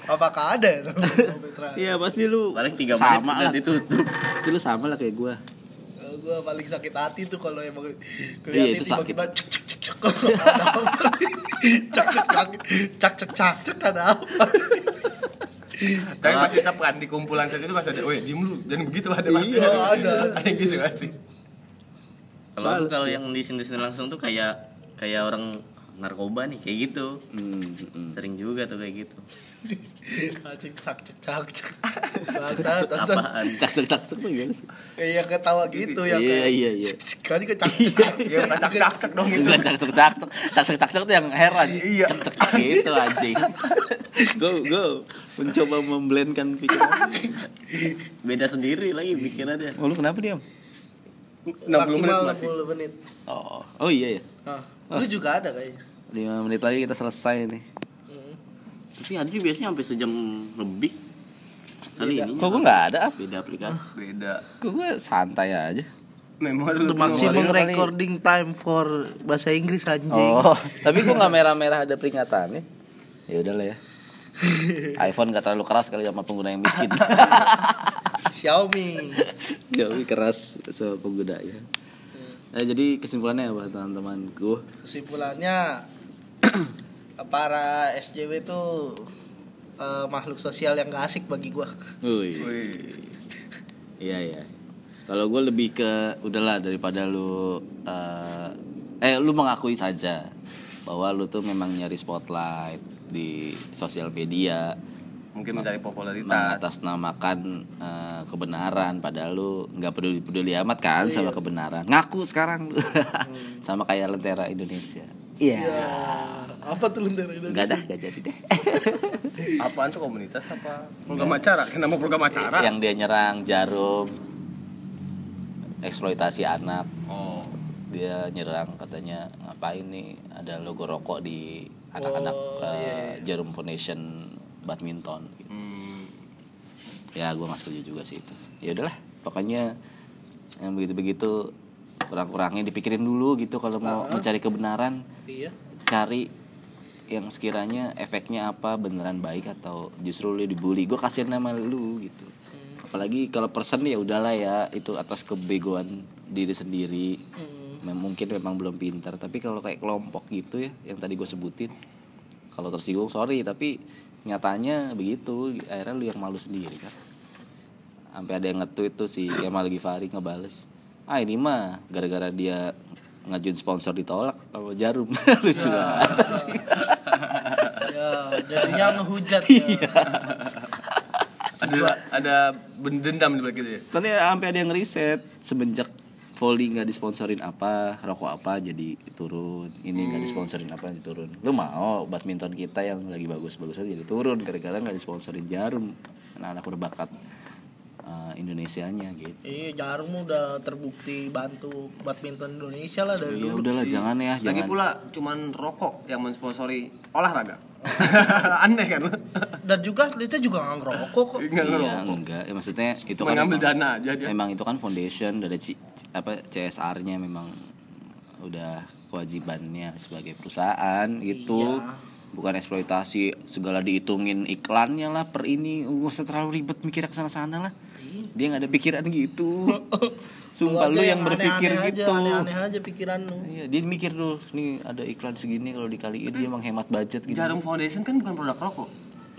[SPEAKER 3] Apakah ada ya?
[SPEAKER 1] Iya pasti lu
[SPEAKER 2] Paling tiga menit
[SPEAKER 1] sama
[SPEAKER 2] udah
[SPEAKER 1] lah.
[SPEAKER 2] ditutup.
[SPEAKER 1] Pasti lu sama lah kayak gue.
[SPEAKER 3] gue paling sakit hati tuh kalau emang
[SPEAKER 1] Iya,
[SPEAKER 3] kelihatan
[SPEAKER 1] itu
[SPEAKER 3] tiba-tiba cek cek cek cek Ada apa? cek cek cek cek cek cek cek ada apa?
[SPEAKER 4] Tapi pasti tetap kan di kumpulan saat itu pasti ada, weh diem lu, jangan begitu ada pasti.
[SPEAKER 3] Iya, ada.
[SPEAKER 4] Ada yang gitu pasti.
[SPEAKER 2] Kalau aku kalau yang disindir-sindir langsung tuh kayak kayak orang narkoba nih kayak gitu.
[SPEAKER 1] Hmm.
[SPEAKER 2] Sering juga tuh kayak gitu.
[SPEAKER 3] cek cek cek cek cek Bangsat, bangsat.
[SPEAKER 2] Apaan?
[SPEAKER 1] Cak cak cak tuh gimana sih?
[SPEAKER 3] Iya ketawa gitu
[SPEAKER 1] Iya,
[SPEAKER 3] ya kayak,
[SPEAKER 1] iya, iya.
[SPEAKER 3] cek, cek, Kali ke cak cek
[SPEAKER 4] Iya, bukan cak-cak dong itu.
[SPEAKER 1] Bukan cak cak cak cak cak cek, cak cek tuh yang heran.
[SPEAKER 4] Iya.
[SPEAKER 1] Cak cek cak gitu anjing. Go go mencoba memblendkan pikiran.
[SPEAKER 2] Beda sendiri lagi pikirannya.
[SPEAKER 1] Oh lu kenapa diam?
[SPEAKER 4] 60 menit
[SPEAKER 3] maksimal
[SPEAKER 4] mati.
[SPEAKER 3] 60 menit.
[SPEAKER 1] Oh oh iya ya.
[SPEAKER 3] Ah, Lu juga ada kayaknya.
[SPEAKER 1] 5 menit lagi kita selesai nih.
[SPEAKER 2] Tapi Adri biasanya sampai sejam lebih. Kali ini.
[SPEAKER 1] Kok gue nggak ada? Ap?
[SPEAKER 2] Beda aplikasi.
[SPEAKER 4] Beda.
[SPEAKER 1] Kok gue santai aja.
[SPEAKER 4] Memori lu.
[SPEAKER 1] Maximum
[SPEAKER 3] Maximum
[SPEAKER 1] kali-
[SPEAKER 3] recording time for bahasa Inggris anjing.
[SPEAKER 1] Oh tapi gue nggak merah-merah ada peringatannya. Ya udah lah ya. iPhone gak terlalu keras kali sama pengguna yang miskin.
[SPEAKER 3] Xiaomi.
[SPEAKER 1] Jauh keras sama penggunanya. Nah, jadi kesimpulannya apa teman-teman? Gue
[SPEAKER 3] Kesimpulannya para SJW itu eh, makhluk sosial yang gak asik bagi gua.
[SPEAKER 1] Wih.
[SPEAKER 4] Wih.
[SPEAKER 1] Iya iya. Kalau gue lebih ke udahlah daripada lu eh, eh lu mengakui saja bahwa lu tuh memang nyari spotlight di sosial media
[SPEAKER 4] Mungkin mencari popularitas.
[SPEAKER 1] mengatasnamakan eh, kebenaran padahal lu nggak peduli peduli amat kan sama kebenaran ngaku sekarang lu. sama kayak lentera Indonesia iya
[SPEAKER 3] Apa tuh lentera itu?
[SPEAKER 1] nggak dah nggak jadi deh
[SPEAKER 4] Apaan tuh komunitas apa? Program acara, kayak nama program acara.
[SPEAKER 1] yang dia nyerang jarum eksploitasi anak
[SPEAKER 4] Oh.
[SPEAKER 1] dia nyerang katanya ngapain nih ada logo rokok di anak-anak eh, jarum foundation badminton gitu.
[SPEAKER 4] Hmm.
[SPEAKER 1] ya gue nggak setuju juga sih itu ya udahlah pokoknya yang begitu-begitu kurang-kurangnya dipikirin dulu gitu kalau mau mencari kebenaran
[SPEAKER 3] Iya.
[SPEAKER 1] cari yang sekiranya efeknya apa beneran baik atau justru lu dibully gue kasihan nama lu gitu apalagi kalau person ya udahlah ya itu atas kebegoan diri sendiri Mem- mungkin memang belum pintar tapi kalau kayak kelompok gitu ya yang tadi gue sebutin kalau tersinggung sorry tapi nyatanya begitu akhirnya lu yang malu sendiri kan sampai ada yang nge-tweet tuh si Kemal Gifari ngebales ah ini mah gara-gara dia ngajuin sponsor ditolak sama jarum lucu
[SPEAKER 4] Nah.
[SPEAKER 1] banget
[SPEAKER 3] Ya, jadinya ngehujat ya.
[SPEAKER 4] Ada ada dendam di balik itu ya.
[SPEAKER 1] nanti sampai ada yang riset semenjak volley nggak disponsorin apa rokok apa jadi turun ini
[SPEAKER 4] Hmm.
[SPEAKER 1] nggak disponsorin apa jadi turun lu mau badminton kita yang lagi bagus-bagus aja jadi turun gara-gara nggak disponsorin jarum anak-anak berbakat eh, Indonesianya gitu
[SPEAKER 3] Iya, jarum udah terbukti bantu badminton Indonesia lah dari
[SPEAKER 1] ya
[SPEAKER 3] dulu.
[SPEAKER 1] udahlah jangan ya
[SPEAKER 4] Iya, Ah, Lagi
[SPEAKER 1] jangan
[SPEAKER 4] pula cuman rokok yang mensponsori olahraga. Aneh kan lu?
[SPEAKER 3] Dan juga atletnya juga nggak ngerokok kok.
[SPEAKER 4] Enggak
[SPEAKER 1] Iya,
[SPEAKER 4] ngerokok.
[SPEAKER 1] enggak. Ya, maksudnya itu kan
[SPEAKER 4] Mengambil
[SPEAKER 1] memang-
[SPEAKER 4] dana aja dia.
[SPEAKER 1] Memang itu kan foundation dari C- C- apa CSR-nya memang udah kewajibannya sebagai perusahaan
[SPEAKER 3] Iya.
[SPEAKER 1] gitu. Bukan eksploitasi segala dihitungin iklannya lah per ini. Gak usah terlalu ribet mikir ke sana-sana lah.
[SPEAKER 3] Iya.
[SPEAKER 1] Dia nggak ada pikiran gitu. Sumpah lu
[SPEAKER 3] aja
[SPEAKER 1] yang berpikir
[SPEAKER 3] aneh-aneh
[SPEAKER 1] gitu.
[SPEAKER 3] Aja, aneh-aneh aja pikiran lu.
[SPEAKER 1] Iya, dia mikir dulu nih ada iklan segini kalau dikaliin dia menghemat budget gitu.
[SPEAKER 4] Jarum Foundation kan bukan produk rokok.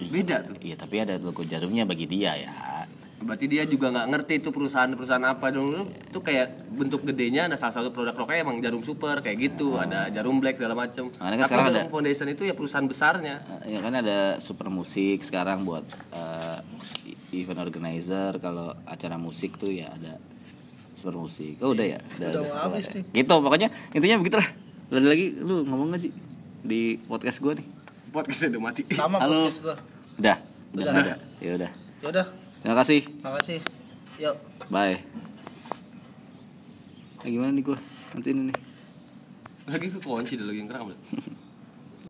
[SPEAKER 4] Beda tuh.
[SPEAKER 1] Iya, tapi ada logo jarumnya bagi dia ya.
[SPEAKER 4] Berarti dia juga nggak ngerti itu perusahaan-perusahaan apa dong. Lu Tuh kayak bentuk gedenya ada salah satu produk rokoknya emang jarum super kayak gitu, ada jarum black segala macam.
[SPEAKER 1] Oh. Makanya kan
[SPEAKER 4] Tapi
[SPEAKER 1] sekarang
[SPEAKER 4] jarum
[SPEAKER 1] ada-
[SPEAKER 4] Foundation itu ya perusahaan besarnya.
[SPEAKER 1] ya kan ada super musik sekarang buat eh, event organizer kalau acara musik tuh ya ada super musik oh udah ya
[SPEAKER 3] Iya. Udah mau habis
[SPEAKER 1] kelar ya. gitu pokoknya intinya begitulah Lu ada lagi lu ngomong gak sih di podcast gua nih
[SPEAKER 4] Podcastnya udah mati.
[SPEAKER 3] sama
[SPEAKER 1] Halo.
[SPEAKER 3] podcast gua
[SPEAKER 1] udah udah
[SPEAKER 3] Udah.
[SPEAKER 1] ada ya udah
[SPEAKER 3] yaudah
[SPEAKER 1] terima kasih
[SPEAKER 3] makasih yuk
[SPEAKER 1] bye Eh, gimana nih gua nanti ini nih
[SPEAKER 4] Lagi kunci dah lagi yang keram. dah.